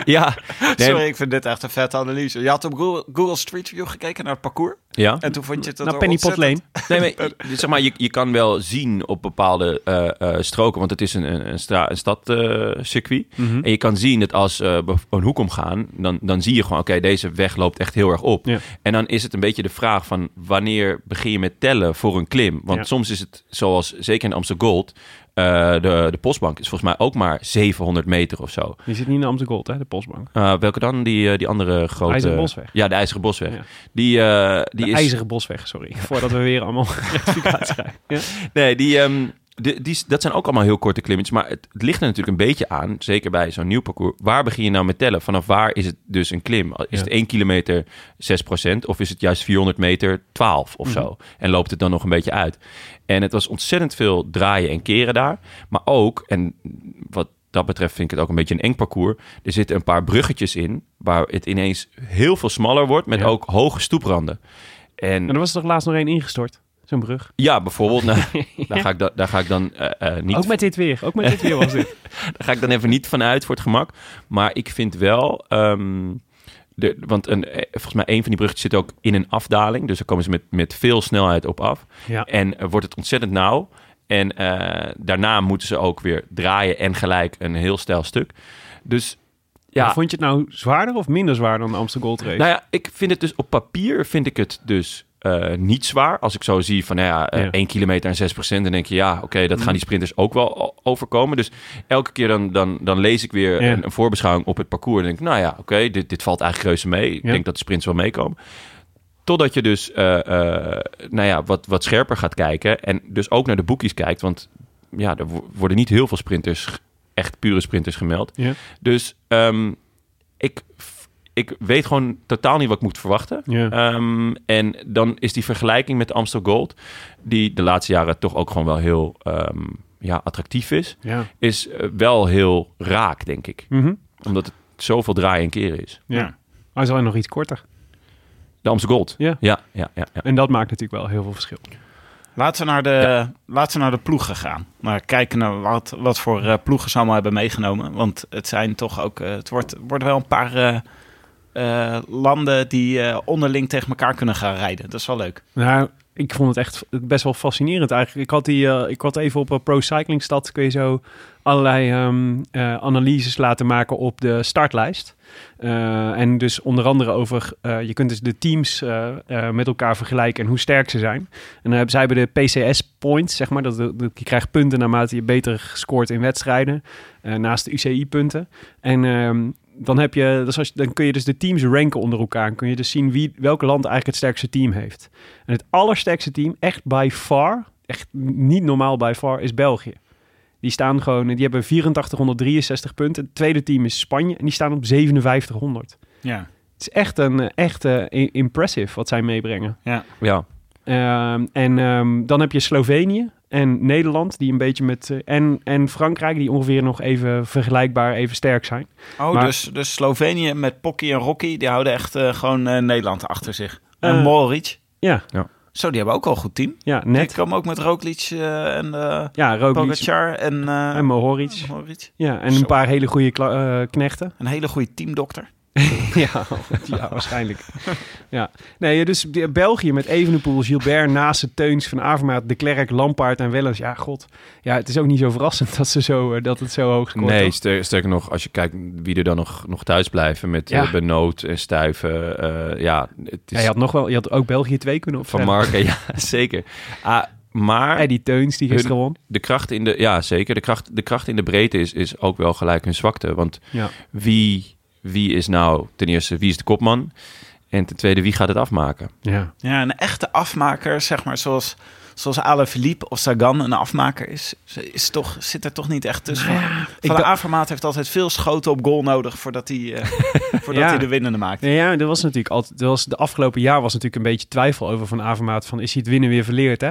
ja. Nee, Sorry, ik vind dit echt een vette analyse. Je had op Google, Google Street View gekeken naar het parcours. ja. En toen vond je het... Naar Penny Pot Lane. Nee, maar, je- zeg maar je, je kan wel zien op bepaalde eh, eh, stroken, want het is een, een, een, stra- een stadcircuit. Mhm. En je kan zien dat als eh, bev- een hoek omgaan, dan, dan zie je gewoon, oké, deze weg loopt echt heel erg op. Ja. En dan is het een beetje de vraag van wanneer begin je met tellen voor een klim? Want Ja. soms is het, zoals zeker in Amsterdam Gold, eh, de, de postbank is volgens mij ook maar 700 meter of zo. Die zit niet in de Amsterdam Gold, hè, de postbank. Eh, welke dan? Die, eh, die andere grote... IJzeren Bosweg. Ja, de IJzeren Bosweg. Ja. Die, eh, die de is... IJzeren Bosweg, sorry. Voordat we weer allemaal Nou, rectificatie krijgen. Ja. Nee, die, ehm, de- die, dat zijn ook allemaal heel korte klimmetjes. Maar het, het ligt er natuurlijk een beetje aan, zeker bij zo'n nieuw parcours. Waar begin je nou met tellen? Vanaf waar is het dus een klim? Is het 1 kilometer 6% of is het juist 400 meter 12 of Mhm. zo? En loopt het dan nog een beetje uit? En het was ontzettend veel draaien en keren daar. Maar ook, en wat dat betreft vind ik het ook een beetje een eng parcours. Er zitten een paar bruggetjes in waar het ineens heel veel smaller wordt met Ja. ook hoge stoepranden. En En er was er toch laatst nog één ingestort? Zo'n brug. ja, bijvoorbeeld. Nou, daar, ga ik da- daar ga ik dan eh, eh, niet Ook met dit weer. Ook met dit weer was dit. daar ga ik dan even niet van uit voor het gemak. Maar ik vind wel. ehm, de, want een, eh, volgens mij een van die bruggetjes zit ook in een afdaling. Dus daar komen ze met, met veel snelheid op af. Ja. En eh, wordt het ontzettend nauw. En eh, daarna moeten ze ook weer draaien en gelijk een heel stijl stuk. Dus ja, Maar Vond je het nou zwaarder of minder zwaar dan de Amsterdam Gold Race? nou ja, ik vind het dus op papier vind ik het dus eh, niet zwaar. Als ik zo zie van nou ja, eh, Ja. Mm. 1 kilometer en 6 dan denk je ja, oké, dat gaan die sprinters ook wel o- overkomen. Dus elke keer dan, dan, dan lees ik weer Ja. een, een voorbeschouwing op het parcours. En denk ik, nou ja, oké, dit, dit valt eigenlijk reuze mee. Ik Ja. denk dat de sprints wel meekomen. Totdat je dus eh, eh, nou ja, wat, wat scherper gaat kijken. En dus ook naar de boekjes kijkt. Want ja, er wo- worden niet heel veel sprinters, echt pure sprinters gemeld. Ja. Dus ehm, ik, ik weet gewoon totaal niet wat ik moet verwachten. Ja. Ehm, en dan is die vergelijking met Amstel Gold, die de laatste jaren toch ook gewoon wel heel ehm, ja, attractief is, Ja. is eh, wel heel raak, denk ik. Mhm. Omdat het zoveel draaien en keren is. ja. Ja. Maar ze zijn nog iets korter. De Amstel Gold. Ja. Ja, ja, ja, ja. En dat maakt natuurlijk wel heel veel verschil. Laten we naar de, laten we naar de ploegen gaan. Maar kijken naar wat, wat voor eh, ploegen ze allemaal hebben meegenomen. Want het zijn toch ook. eh, het wordt, worden wel een paar eh, eh, landen die eh, onderling tegen elkaar kunnen gaan rijden. Dat is wel leuk. Nou, ik vond het echt best wel fascinerend eigenlijk. Ik had, die, eh, ik had even op een Pro Cycling Stad kun je zo allerlei ehm, eh, analyses laten maken op de startlijst. Eh, en dus onder andere over, eh, je kunt dus de teams eh, eh, met elkaar vergelijken en hoe sterk ze zijn. En dan hebben zij bij de PCS points, zeg maar, dat, dat je krijgt punten naarmate je beter scoort in wedstrijden, eh, naast de UCI punten. En ehm, dan, heb je, dus als, je- dan kun je dus de teams ranken onder elkaar. En kun je dus zien wie, welk land eigenlijk het sterkste team heeft. En het allersterkste team, echt by far, echt niet normaal by far, is België. Die staan gewoon, die hebben 8463 punten. Het tweede team is Spanje en die staan op 5700. Ja. Het is echt een eh, echt eh, i- impressive wat zij meebrengen. ja. Ehm, en ehm, dan heb je Slovenië en Nederland, die een beetje met. eh, en, en Frankrijk, die ongeveer nog even vergelijkbaar, even sterk zijn. Oh, Maar- dus, dus Slovenië met Pocky en Rocky. Die houden echt eh, gewoon eh, Nederland achter zich. Eh, en Moric. Ja, Zo, die hebben ook al een goed team. ja Die net. komen ook met Roglic eh, en eh Ja, Roglic Pogacar en, eh en Mohoric. Mohoric. Ja, en een Zo. paar hele goede kla- eh, knechten. Een hele goede teamdokter. Ja, ja waarschijnlijk. ja. Nee, dus de- België met Evenepoel, Gilbert, Nase, Teuns, Van Avermaat, De Klerk, Lampaard en Wellens. Ja, god. Ja, het is ook niet zo verrassend dat, ze zo, eh, dat het zo hoog scoort. Nee, toch? ster- sterker nog, als je kijkt wie er dan nog, nog thuis blijven met Ja. eh, Benoot en Stuiven. eh, ja, het Ja, is je had nog wel, je had ook België 2 kunnen van opstellen. Marken. Ja, zeker. Ah, maar... En die Teuns die gisteren won. de kracht in de, ja zeker, de kracht, de kracht in de breedte is, is ook wel gelijk hun zwakte. Want Ja. wie, wie is nou ten eerste, wie is de kopman? En ten tweede, wie gaat het afmaken? Ja. Ja, een echte afmaker, zeg maar, zoals, zoals Alaphilippe of Sagan een afmaker is, is toch, zit er toch niet echt tussen. Nou Van de Avermaat heeft altijd veel schoten op goal nodig voordat hij, eh, voordat Ja. hij de winnende maakt. Nee, ja, dat was natuurlijk altijd. Dat was, de afgelopen jaar was natuurlijk een beetje twijfel over van Avermaat. Van is hij het winnen weer verleerd, hè?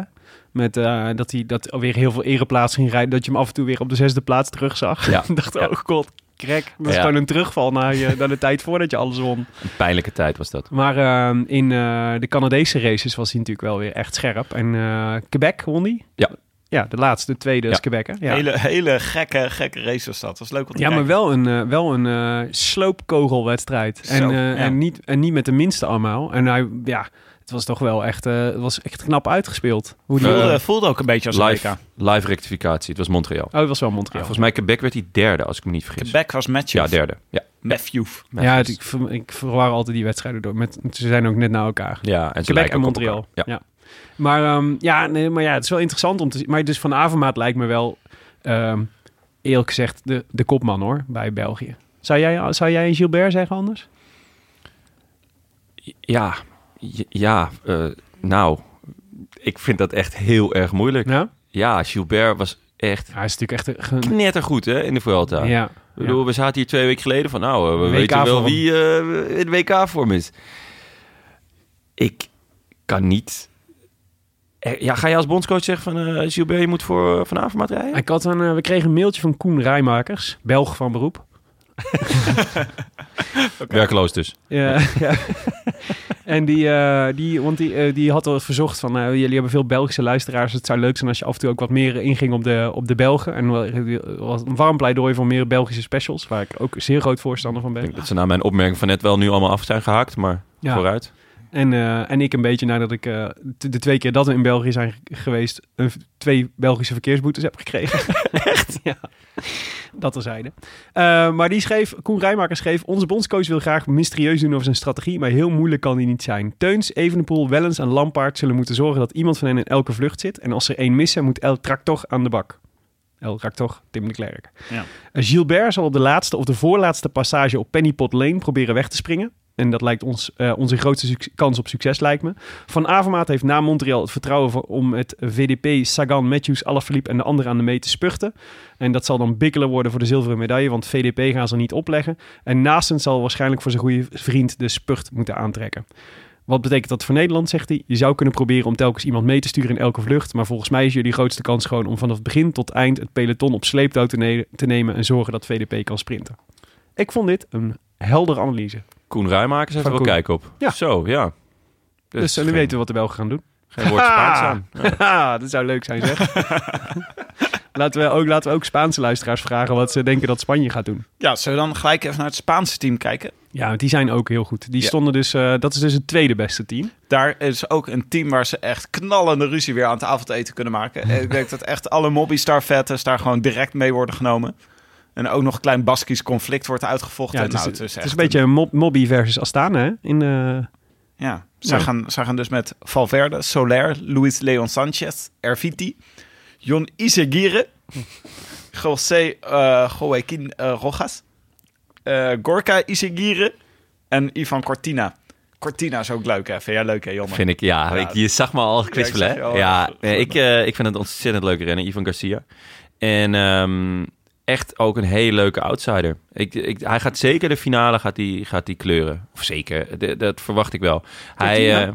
Met eh, dat hij dat alweer heel veel ereplaats ging rijden. Dat je hem af en toe weer op de zesde plaats terugzag. Ja. Ja. dacht, oh god, krek. Dat is Ja. gewoon een terugval naar, je, naar de tijd voordat je alles won. Een pijnlijke tijd was dat. Maar eh, in eh, de Canadese races was hij natuurlijk wel weer echt scherp. En eh, Quebec won die? Ja. Ja, de laatste, de tweede is Ja. Quebec, hè? Ja. Hele, hele gekke, gekke race was dat. Dat was leuk om te Ja, maar kijken. wel een, eh, wel een eh, sloopkogelwedstrijd. Zo, en, eh, ja. en, niet, en niet met de minste allemaal. En hij, ja, het was toch wel echt, eh, het was echt knap uitgespeeld. Hoe die, voelde, oh, voelde ook een beetje als een Live, WK. live rectificatie. Het was Montreal. het was wel Montreal. Volgens mij Quebec werd hij derde, als ik me niet vergis. Quebec was Matthew. Ja, derde. Ja, Matthew. ja, het- ik, ver- ik verwar altijd die wedstrijden door. Met, ze zijn ook net na elkaar. ja en ze Quebec lijken en ook op Montreal. elkaar. Ja. Ja. Maar, ehm, ja, nee, maar ja, het is wel interessant om te zien. Maar dus Van Avermaat lijkt me wel, ehm, eerlijk gezegd, de, de kopman hoor, bij België. Zou jij, zou jij Gilbert zeggen anders? Ja, j- ja eh, nou, ik vind dat echt heel erg moeilijk. Ja? Ja, Gilbert was echt Hij is natuurlijk echt een... knettergoed hè, in de Vuelta. ja. ja. Ik bedoel, we zaten hier twee weken geleden van, nou, eh, we WK weten wel vorm. wie eh, in WK-vorm is. Ik kan niet... Eh, Ja, ga je als bondscoach zeggen van, eh, Gilbert, je moet voor eh, Van Avermaat rijden? Ik had een, eh, we kregen een mailtje van Koen Rijmakers, Belg van beroep. Werkloos dus. Ja, ja. en die, eh, die, want die, eh, die had al verzocht van, eh, jullie hebben veel Belgische luisteraars. Het zou leuk zijn als je af en toe ook wat meer inging op de, op de Belgen. En wel- er was een warm pleidooi voor meer Belgische specials, waar ik ook zeer groot voorstander van Ik ben. denk dat ze na mijn opmerking van net wel nu allemaal af zijn gehaakt, maar Ja. vooruit. En, eh, en ik een beetje nadat ik eh, t- de twee keer dat we in België zijn g- geweest, een v- twee Belgische verkeersboetes heb gekregen. Echt? Ja. Dat terzijde. Eh maar die schreef, Koen Rijmaker schreef, onze bondscoach wil graag mysterieus doen over zijn strategie, maar heel moeilijk kan die niet zijn. Teuns, Evenepoel, Wellens en Lampaard zullen moeten zorgen dat iemand van hen in elke vlucht zit. En als er één missen, moet El Tractor aan de bak. El Tractor, Tim de Klerk. Ja. Eh, Gilbert zal op de laatste of de voorlaatste passage op Pennypot Lane proberen weg te springen. En dat lijkt ons eh, onze grootste suc- kans op succes, lijkt me. Van Avermaat heeft na Montreal het vertrouwen voor- om het VDP, Sagan, Matthews, Alaphilippe en de anderen aan de mee te spuchten. En dat zal dan bikkelen worden voor de zilveren medaille, want VDP gaan ze niet opleggen. En Naastens zal waarschijnlijk voor zijn goede vriend de spucht moeten aantrekken. Wat betekent dat voor Nederland, zegt hij? Je zou kunnen proberen om telkens iemand mee te sturen in elke vlucht. Maar volgens mij is jullie grootste kans gewoon om vanaf begin tot eind het peloton op sleeptouw te, ne- te nemen en zorgen dat VDP kan sprinten. Ik vond dit een heldere analyse. Koen Ruimakers heeft Van er wel Koen. kijk op. Ja. Zo, ja. Dus, Ah. we jullie weten wat de Belgen gaan doen. Geen woord Spaans aan. Haha, Ah, dat zou leuk zijn, zeg. laten, we ook, laten we ook Spaanse luisteraars vragen wat ze denken dat Spanje gaat doen. Ja, zullen we dan gelijk even naar het Spaanse team kijken? Ja, want die zijn ook heel goed. Die Ja. stonden dus, eh, dat is dus het tweede beste team. Daar is ook een team waar ze echt knallende ruzie weer aan het avondeten kunnen maken. En Ik denk dat echt alle Mobbystar-vettes daar gewoon direct mee worden genomen. En ook nog een klein Baskisch conflict wordt uitgevochten. Ja, het, is, Nou, het is echt een beetje mob, Mobby versus Astana, hè? In, eh, Ja, zij, Ja. Gaan, zij gaan dus met Valverde, Soler, Luis Leon Sanchez, Erviti, Jon Iseguirre, José eh Joaquín eh, Rojas, eh, Gorka Iseguirre en Ivan Cortina. Cortina is ook leuk, hè? Vind jij leuk, hè, Jonne? Vind ik, ja. Ja. ik, je zag me al kwispelen, ik hè? zag je al. ja, nee, ik, eh, ik vind het ontzettend leuk rennen, Ivan Garcia. En ehm, echt ook een hele leuke outsider. Ik, ik, hij gaat zeker de finale gaat die, gaat die kleuren. Of zeker, d- dat verwacht ik wel. Hij, eh,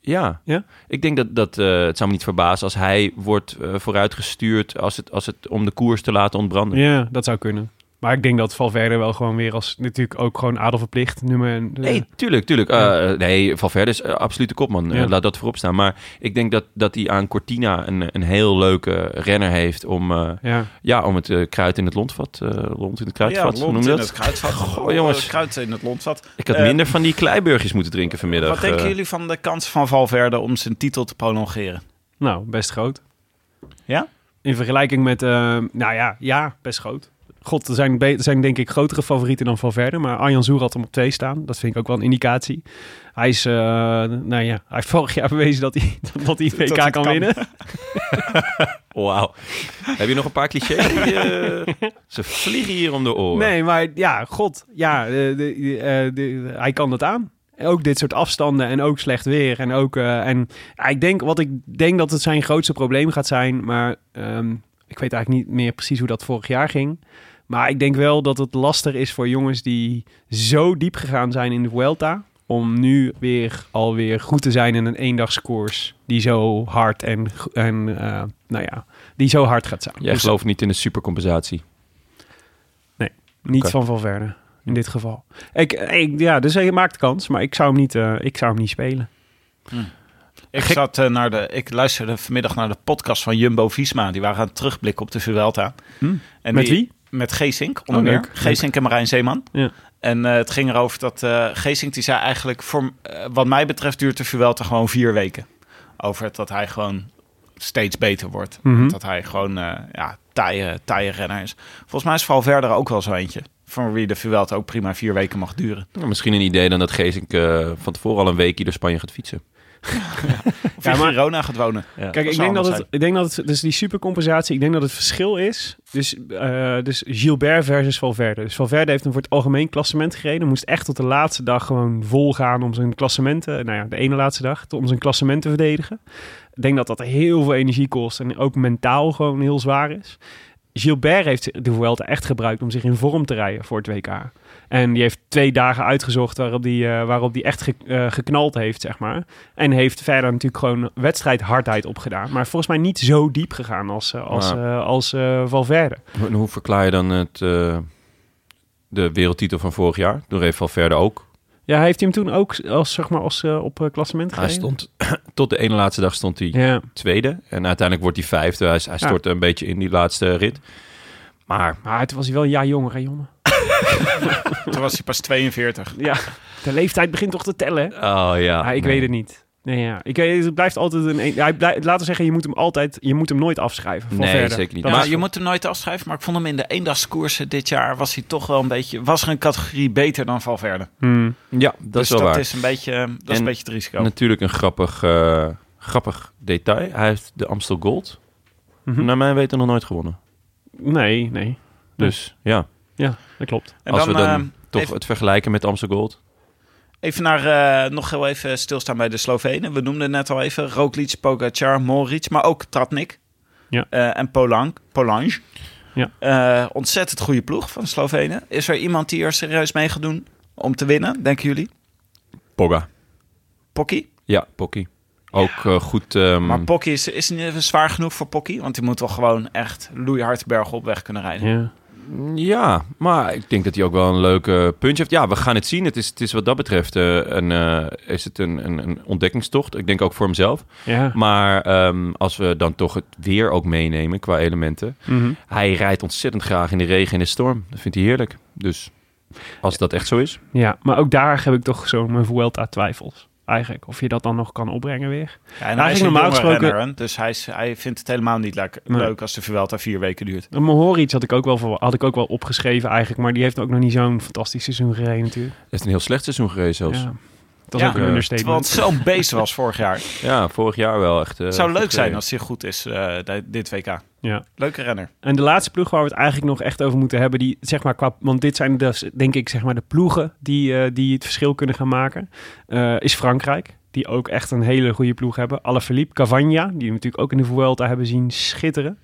ja. Ja? ik denk dat, dat eh, het zou me niet verbazen als hij wordt eh, vooruitgestuurd als het, als het om de koers te laten ontbranden. Ja, dat zou kunnen. Maar ik denk dat Valverde wel gewoon weer als natuurlijk ook gewoon adelverplicht nummer. Nee, tuurlijk, tuurlijk. Eh nee, Valverde is eh, absoluut de kopman. Eh, Ja. laat dat voorop staan. Maar ik denk dat, dat hij aan Cortina een, een heel leuke renner heeft om, eh, Ja. ja, om het eh, kruid in het lontvat. eh lont in het ja, kruidvat, hoe noem lont je in dat? het kruidvat. Goh, jongens. Eh, Kruid in het lontvat. Ik had Eh, minder van die kleiburgjes moeten drinken vanmiddag. Wat denken eh. jullie van de kans van Valverde om zijn titel te prolongeren? Nou, best groot. Ja? In vergelijking met, eh, nou ja, ja, best groot. God, er zijn, be- er zijn denk ik grotere favorieten dan Valverde. Maar Arjan Zoer had hem op twee staan. Dat vind ik ook wel een indicatie. Hij is, eh, nou ja, hij heeft vorig jaar bewezen dat hij, dat hij WK Dat kan, het kan. winnen. Oh, Wauw. Heb je nog een paar clichés? Die, eh, ze vliegen hier om de oren. Nee, maar ja, god, ja, eh, de, de, eh, de- hij kan dat aan. Ook dit soort afstanden en ook slecht weer. En ook, eh, en ja, ik denk wat ik denk dat het zijn grootste probleem gaat zijn. Maar ehm, ik weet eigenlijk niet meer precies hoe dat vorig jaar ging. Maar ik denk wel dat het lastig is voor jongens die zo diep gegaan zijn in de Vuelta. Om nu weer alweer goed te zijn in een eendagskoers die zo hard en, go- en eh, nou ja, die zo hard gaat zijn. Jij Dus gelooft niet in de supercompensatie. niet Oké. van Valverde in dit geval. Ik, ik, ja, dus hij maakt kans, maar ik zou hem niet, eh, ik zou hem niet spelen. Ik, zat, eh, naar de, ik luisterde vanmiddag naar de podcast van Jumbo Visma. Die waren aan het terugblikken op de Vuelta. Hm? En Met die- wie? Met Geesink, onder Oh, meer. leuk. Geesink en Marijn Zeeman. Ja. En eh, het ging erover dat eh Geesink, die zei eigenlijk... Voor, eh, wat mij betreft duurt de Vuelta gewoon vier weken. Over het dat hij gewoon steeds beter wordt. Mhm. Dat hij gewoon eh ja, taaie, taaie renner is. Volgens mij is Valverde ook wel zo eentje. Van wie de Vuelta ook prima vier weken mag duren. Nou, misschien een idee dan dat Geesink eh, van tevoren al een weekje door Spanje gaat fietsen. Of Ja, in maar- Girona gaat wonen. Kijk, Dat ik zou denk, dat anders het, ik denk dat het, dus die supercompensatie, ik denk dat het verschil is. Dus, eh, dus Gilbert versus Valverde. Dus Valverde heeft hem voor het algemeen klassement gereden. Moest echt tot de laatste dag gewoon vol gaan om zijn klassementen, nou ja, de ene laatste dag, om zijn klassement te verdedigen. Ik denk dat dat heel veel energie kost en ook mentaal gewoon heel zwaar is. Gilbert heeft de Vuelta echt gebruikt om zich in vorm te rijden voor het WK. En die heeft twee dagen uitgezocht waarop die, eh, waarop die echt ge- eh, geknald heeft, zeg maar. En heeft verder natuurlijk gewoon wedstrijdhardheid opgedaan. Maar volgens mij niet zo diep gegaan als, eh, als, Ja. eh, als eh, Valverde. En hoe verklaar je dan het, eh, de wereldtitel van vorig jaar? Toen reed Valverde ook. Ja, heeft hij hem toen ook als, zeg maar, als, eh, op eh, klassement Hij gereden? stond, tot de ene laatste dag stond hij Ja, tweede. En uiteindelijk wordt hij vijfde. Hij, hij stortte een beetje in die laatste rit. Maar maar toen was hij wel een jaar jonger, hè, jongen? zijn. Toen was hij pas 42. Ja, de leeftijd begint toch te tellen, hè? Oh ja. Ah, ik weet het niet. Nee, ja. ik, weet- het blijft altijd een... e- een- Hij blijft, laten we zeggen, je moet hem altijd... Je moet hem nooit afschrijven. Nee, Valverde. zeker niet. Dat maar is- je moet hem nooit afschrijven. Maar ik vond hem in de eendagskoersen dit jaar was hij toch wel een beetje. Was er een categorie beter dan Valverde? Hmm. Ja, dat dus is wel dat waar. is een beetje, eh, dat is En- een beetje het risico. Natuurlijk een grappig, eh, grappig detail. Hij heeft de Amstel Gold, Mhm. naar mijn weten, nog nooit gewonnen. Nee, nee. Dus ja, Ja, dat klopt. En als dan, we dan eh, toch even- het vergelijken met Amstel Gold. Even naar, eh, nog heel even stilstaan bij de Slovenen. We noemden net al even Roglic, Pogacar, Moric, maar ook Tratnik. Ja. Eh, en Polank, Polange. Ja. Eh, ontzettend goede ploeg van de Slovenen. Is er iemand die er serieus mee gaat doen om te winnen, denken jullie? Pogga. Pocky? Ja, Pocky. Ook eh, goed. ehm, Maar Pocky is, is niet even zwaar genoeg voor Pocky, want die moet wel gewoon echt loeihard bergop weg kunnen rijden. Ja. Ja, maar ik denk dat hij ook wel een leuke punch heeft. Ja, we gaan het zien. Het is, het is wat dat betreft eh, een, eh, is het een, een, een ontdekkingstocht. Ik denk ook voor hemzelf. ja. Maar ehm, als we dan toch het weer ook meenemen qua elementen. Mhm. Hij rijdt ontzettend graag in de regen en de storm. Dat vindt hij heerlijk. Dus als dat echt zo is. Ja, maar ook daar heb ik toch zo mijn Vuelta-twijfels. Eigenlijk, of je dat dan nog kan opbrengen weer. Ja, en hij Eigenlijk is een normaal jonge gesproken- renner, hè, dus hij, is, hij vindt het helemaal niet leuk, Nee. leuk als de Vuelta vier weken duurt. Een Mohoric had ik ook wel, voor, had ik ook wel opgeschreven eigenlijk. Maar die heeft ook nog niet zo'n fantastisch seizoen gereden natuurlijk. Hij heeft een heel slecht seizoen gereden zelfs. Ja, Ja. Dat is Ja, ook een eh, Terwijl understatement. het zo'n beest was vorig jaar. vorig jaar wel echt. eh, Het zou goed leuk zijn gereden. als hij goed is, eh, di- dit WK. Ja. Leuke renner. En de laatste ploeg waar we het eigenlijk nog echt over moeten hebben, die, zeg maar, qua, want dit zijn dus, denk ik zeg maar, de ploegen die, eh, die het verschil kunnen gaan maken, eh, is Frankrijk. Die ook echt een hele goede ploeg hebben. Alaphilippe, Cavagna, die we natuurlijk ook in de Vuelta hebben zien schitteren.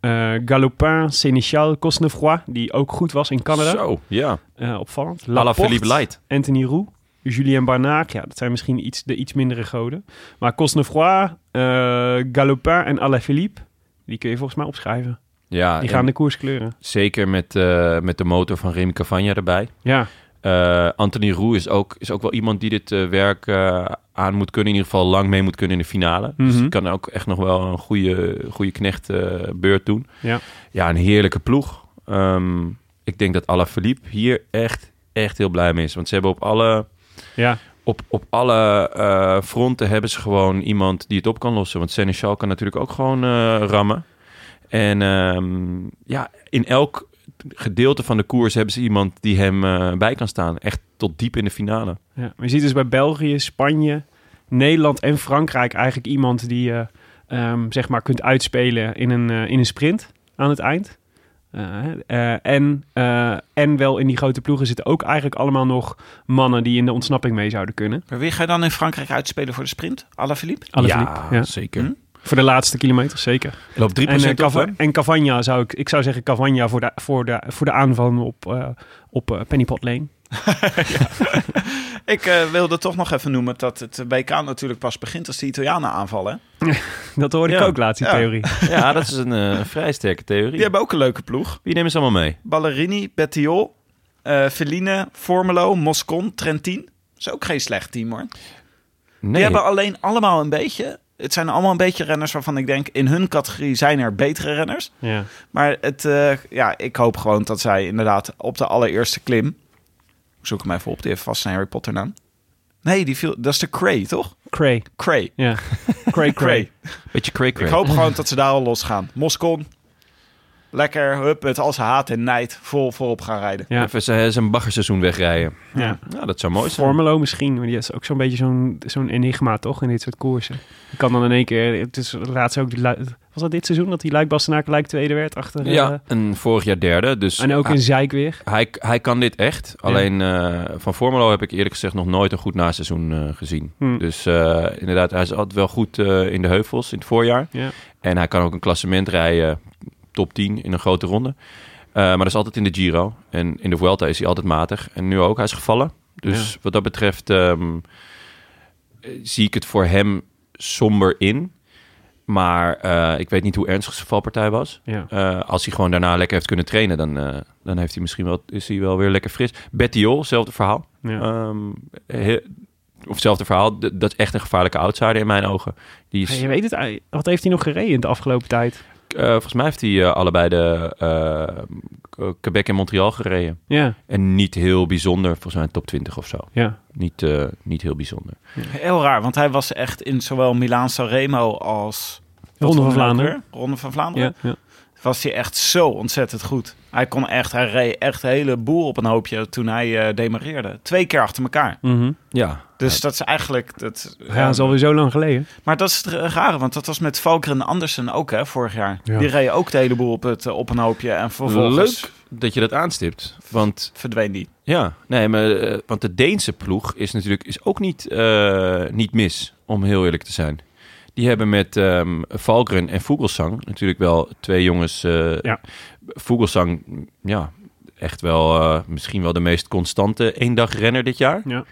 Eh Galopin, Sénéchal, Cosnefroid, die ook goed was in Canada. Zo, ja. Eh, opvallend. Lala Laporte, Philippe Light. Anthony Roux, Julien Barnaak. Ja, dat zijn misschien iets, de iets mindere goden. Maar Cosnefroid, eh Galopin en Alaphilippe, die kun je volgens mij opschrijven. Ja, Die en gaan de koers kleuren. zeker met, eh, met de motor van Remy Cavagna erbij. Ja, Eh, Anthony Roux is ook, is ook wel iemand die dit eh, werk eh, aan moet kunnen. In ieder geval lang mee moet kunnen in de finale. Dus Mhm. die kan ook echt nog wel een goede, goede knecht eh, beurt doen. Ja. ja, een heerlijke ploeg. Ehm, ik denk dat Alaphilippe hier echt, echt heel blij mee is. Want ze hebben op alle, ja. op, op alle eh, fronten hebben ze gewoon iemand die het op kan lossen. Want Seneschal kan natuurlijk ook gewoon eh, rammen. En ehm, ja, in elk gedeelte van de koers hebben ze iemand die hem eh, bij kan staan. Echt tot diep in de finale. ja. Maar je ziet dus bij België, Spanje, Nederland en Frankrijk eigenlijk eh, iemand die je ehm, zeg maar kunt uitspelen in een, eh, in een sprint aan het eind. Eh, eh, en, eh, en wel in die grote ploegen zitten ook eigenlijk allemaal nog mannen die in de ontsnapping mee zouden kunnen. Maar wie ga je dan in Frankrijk uitspelen voor de sprint? Alaphilippe? Alaphilippe, ja, ja. zeker. Hm? Voor de laatste kilometer, zeker. Loopt 3% En, eh, op, Cava- hè? en Cavagna zou ik, ik zou zeggen Cavagna voor de, voor de, voor de aanval op, eh, op eh, Pennypot Lane. Ik eh, wilde toch nog even noemen dat het WK natuurlijk pas begint als de Italianen aanvallen. Dat hoorde ik Ja. ook laatst in Ja. theorie. Ja, dat is een eh, vrij sterke theorie. Die hebben ook een leuke ploeg. Wie nemen ze allemaal mee? Ballerini, Bettiol, eh Feline, Formelo, Moscon, Trentin. Dat is ook geen slecht team hoor. Nee. Die hebben alleen allemaal een beetje... Het zijn allemaal een beetje renners waarvan ik denk... in hun categorie zijn er betere renners. Ja. Maar het, eh, ja, ik hoop gewoon dat zij inderdaad op de allereerste klim. Ik zoek hem even op, die heeft vast zijn Harry Potter naam. Nee, die viel, dat is de Cray, toch? Cray. Cray. Ja. Cray, Cray. Cray. Beetje cray Ik hoop gewoon dat ze daar al los gaan. Moscon, lekker, hup, met al zijn haat en nijd vol voorop gaan rijden. Ja. Even eh, zijn zijn baggerseizoen wegrijden. Ja. Nou, dat zou mooi zijn. Formelo misschien, maar die is ook zo'n beetje zo'n zo'n enigma toch in dit soort koersen. Je kan dan in één keer, het is laatst ook, die Lu- was dat dit seizoen dat die Luik Bastenaak Luik tweede werd achter? eh, Ja, en vorig jaar derde. Dus en ook hij, in Zijk weer. hij, hij kan dit echt. Alleen eh, van Formelo heb ik eerlijk gezegd nog nooit een goed naseizoen eh, gezien. Hm. Dus eh, inderdaad, hij is altijd wel goed eh, in de heuvels in het voorjaar. Ja. En hij kan ook een klassement rijden, top 10 in een grote ronde. Eh, maar dat is altijd in de Giro. En in de Vuelta is hij altijd matig. En nu ook, hij is gevallen. Dus wat dat betreft ehm, eh, zie ik het voor hem somber in. Maar eh, ik weet niet hoe ernstig zijn valpartij was. Ja. Eh, als hij gewoon daarna lekker heeft kunnen trainen, dan, eh, dan heeft hij misschien wel, is hij wel weer lekker fris. Bettiol, hetzelfde verhaal. Ja. Ehm, he- of hetzelfde verhaal. D- dat is echt een gevaarlijke outsider in mijn ogen. Die Ja, is, Je weet het, ei- wat heeft hij nog gereden in de afgelopen tijd? eh, volgens mij heeft hij eh, allebei de eh, K- Quebec en Montreal gereden. Ja, En niet heel bijzonder, volgens mij top 20 of zo. ja. Niet, eh, niet heel bijzonder. Heel raar, want hij was echt in zowel Milaan-San Remo als... Ronde van Wat vond hij ook Vlaanderen. weer? Ronde van Vlaanderen. Ja, ja. was hij echt zo ontzettend goed. Hij kon echt, hij reed echt een heleboel op een hoopje toen hij eh, demareerde. Twee keer achter elkaar. Mhm. Ja, Dus dat is eigenlijk... Dat, ja, dat is alweer zo lang geleden. Maar dat is het rare, want dat was met Valker en Andersen ook hè, vorig jaar. Ja. Die reden ook de hele boel op, het, eh, op een hoopje en vervolgens leuk dat je dat aanstipt. Want verdween die. Ja, nee, maar, eh, want de Deense ploeg is natuurlijk is ook niet, eh, niet mis, om heel eerlijk te zijn. Die hebben met ehm Valgren en Vogelsang natuurlijk wel twee jongens. eh Ja. Vogelsang, ja, echt wel eh, misschien wel de meest constante eendagrenner dit jaar. Ja.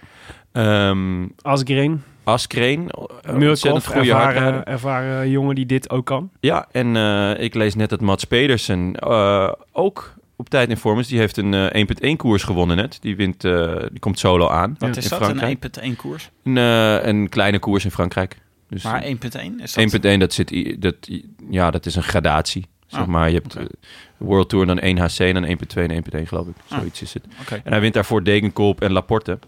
Eh, Ehm Asgreen, Askreen, een ontzettend Murkoff, goede hardrijder. ervaren, ervaren jongen die dit ook kan. Ja, en eh, ik lees net dat Mats Pedersen eh, ook op tijd in vorm is. Die heeft een eh, 1.1 koers gewonnen net. Die, wint, eh, die komt solo aan. Wat Ja. is In dat, Frankrijk? een 1.1 koers? Een, eh, een kleine koers in Frankrijk. Dus Maar 1.1 1.1, is dat... dat zit, i- dat, i- ja, dat is een gradatie. Zeg Ah, maar, je hebt oké. eh, World Tour, dan 1 HC, dan 1.2 en 1.1 geloof ik. Zoiets is het. Ah, Oké. En hij wint daarvoor Degenkolb en Laporte.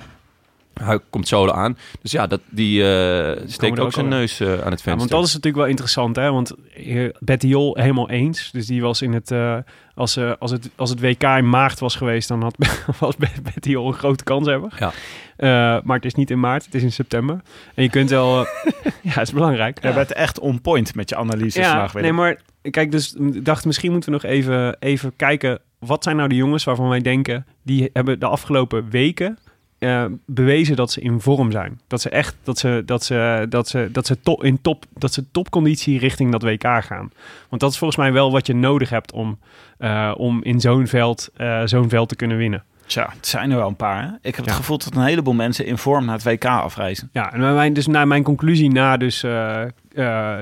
Hij komt solo aan. Dus ja, dat, die eh, steekt er ook ook zijn al, ja. neus eh, aan het venster. Ja, want dat is natuurlijk wel interessant, hè? Want eh, Bettiol helemaal eens. Dus die was in het, eh, als, eh, als het. Als het WK in maart was geweest, dan had was Bet- Bettiol een grote kans hebben. Ja. Eh, maar het is niet in maart, het is in september. En je kunt wel. eh, ja, het is belangrijk. Jij bent echt on point met je analyses Ja, vandaag. Willem. nee, maar kijk, dus ik dacht misschien moeten we nog even, even kijken. Wat zijn nou de jongens waarvan wij denken, die hebben de afgelopen weken eh, bewezen dat ze in vorm zijn. Dat ze echt, dat ze, dat ze, dat ze, dat ze top, in top, dat ze topconditie richting dat WK gaan. Want dat is volgens mij wel wat je nodig hebt om, eh, om in zo'n veld, eh, zo'n veld te kunnen winnen. Tja, het zijn er wel een paar. Hè? Ik heb Ja. het gevoel dat een heleboel mensen in vorm naar het WK afreizen. Ja, en mijn, dus naar mijn conclusie na dus, eh, eh,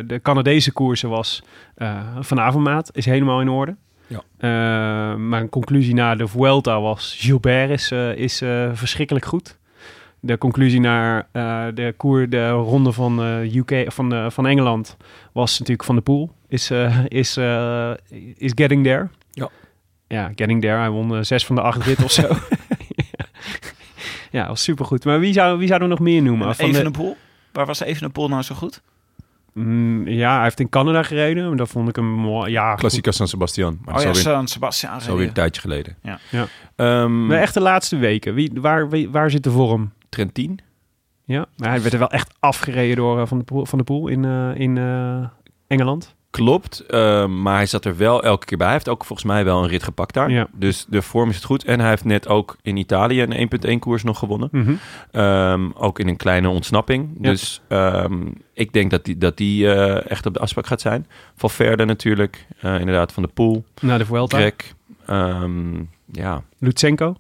de Canadese koersen was eh Van Avermaat is helemaal in orde. Ja. Eh, mijn conclusie na de Vuelta was Gilbert is, eh, is eh, verschrikkelijk goed. De conclusie naar eh, de koer, de ronde van, eh, UK, van, eh, van Engeland was natuurlijk Van de Poel. Is, eh, is, eh, is getting there. Ja. Ja, getting there. Hij won eh, zes van de acht rit of zo. ja, was supergoed. Maar wie, zou, wie zouden we nog meer noemen? Maar Van de, Evenepoel? Waar was Evenepoel nou zo goed? Mm, ja, hij heeft in Canada gereden. maar Dat vond ik hem mooi. Ja, goed. Klassica San Sebastian. Maar oh dat ja, is alweer, San Sebastian. is alweer reden. een tijdje geleden. Ja. Ja. Ehm, Maar echt de laatste weken. Wie, waar, wie- waar zit de vorm? Trentin. Ja, maar hij werd er wel echt afgereden door eh, Van de Poel, van de Poel in, eh, in eh, Engeland. Klopt, eh, maar hij zat er wel elke keer bij. Hij heeft ook volgens mij wel een rit gepakt daar. Ja. Dus de vorm is het goed. En hij heeft net ook in Italië een 1.1 koers nog gewonnen. Mhm. Ehm, ook in een kleine ontsnapping. Ja. Dus ehm, ik denk dat die, dat die eh, echt op de afspraak gaat zijn. Valverde natuurlijk, eh, inderdaad van de Poel, Naar de Vuelta. Trek. Ehm, ja, Lutsenko.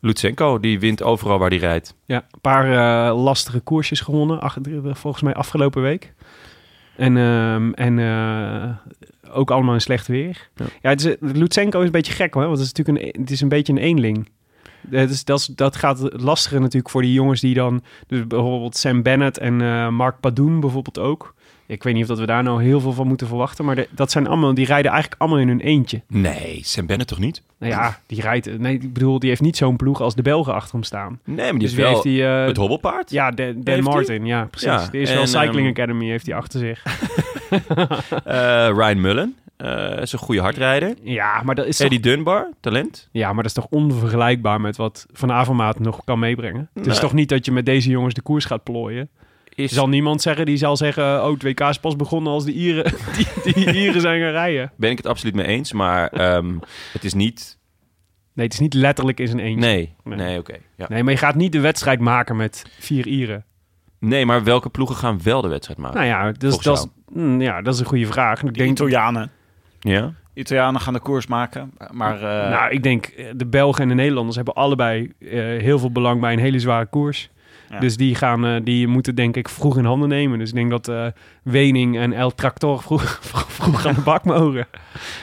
Lutsenko, die wint overal waar hij rijdt. Ja, een paar eh, lastige koersjes gewonnen, ach- volgens mij afgelopen week. En, ehm, en eh, ook allemaal in slecht weer. Ja. Ja, het is, Lutsenko is een beetje gek hoor, want het is natuurlijk een, het is een beetje een eenling. Eh, dus dat, is, dat gaat lastiger natuurlijk voor die jongens die dan... Dus bijvoorbeeld Sam Bennett en eh, Mark Padoen bijvoorbeeld ook. Ik weet niet of dat we daar nou heel veel van moeten verwachten, maar de- dat zijn allemaal, die rijden eigenlijk allemaal in hun eentje. Nee, Sam Bennett toch niet? Nou ja, die rijdt, nee, ik bedoel, die heeft niet zo'n ploeg als de Belgen achter hem staan. Nee, maar die Dus is wie wel heeft die... eh, het hobbelpaard. ja, Dan, Dan Heeft Martin, ja, precies. Ja, de Israel en, Cycling ehm, Academy heeft hij achter zich. Eh, Ryan Mullen eh, is een goede hardrijder. Ja, maar dat is toch, Eddie Dunbar, talent. ja, maar dat is toch onvergelijkbaar met wat Van Avermaat nog kan meebrengen? Het is Nee. toch niet dat je met deze jongens de koers gaat plooien? Is Er zal niemand zeggen, die zal zeggen... Oh, 2K is pas begonnen als de Ieren, die, die Ieren zijn gaan rijden. Ben ik het absoluut mee eens, maar ehm, het is niet... Nee, het is niet letterlijk in zijn eentje. Nee, Nee. nee, oké. ja. Nee, maar je gaat niet de wedstrijd maken met vier Ieren. Nee, maar welke ploegen gaan wel de wedstrijd maken? Nou ja, dus, Volgens dat, is, mm, ja dat is een goede vraag. Ik De denk, Italianen. Ja? Italianen gaan de koers maken, maar... eh, nou, ik denk eh, de Belgen en de Nederlanders hebben allebei eh, heel veel belang bij een hele zware koers. Ja. Dus die, gaan, eh, die moeten denk ik vroeg in handen nemen. Dus ik denk dat eh, Wening en El Tractor vroeg, vroeg, vroeg aan de bak mogen.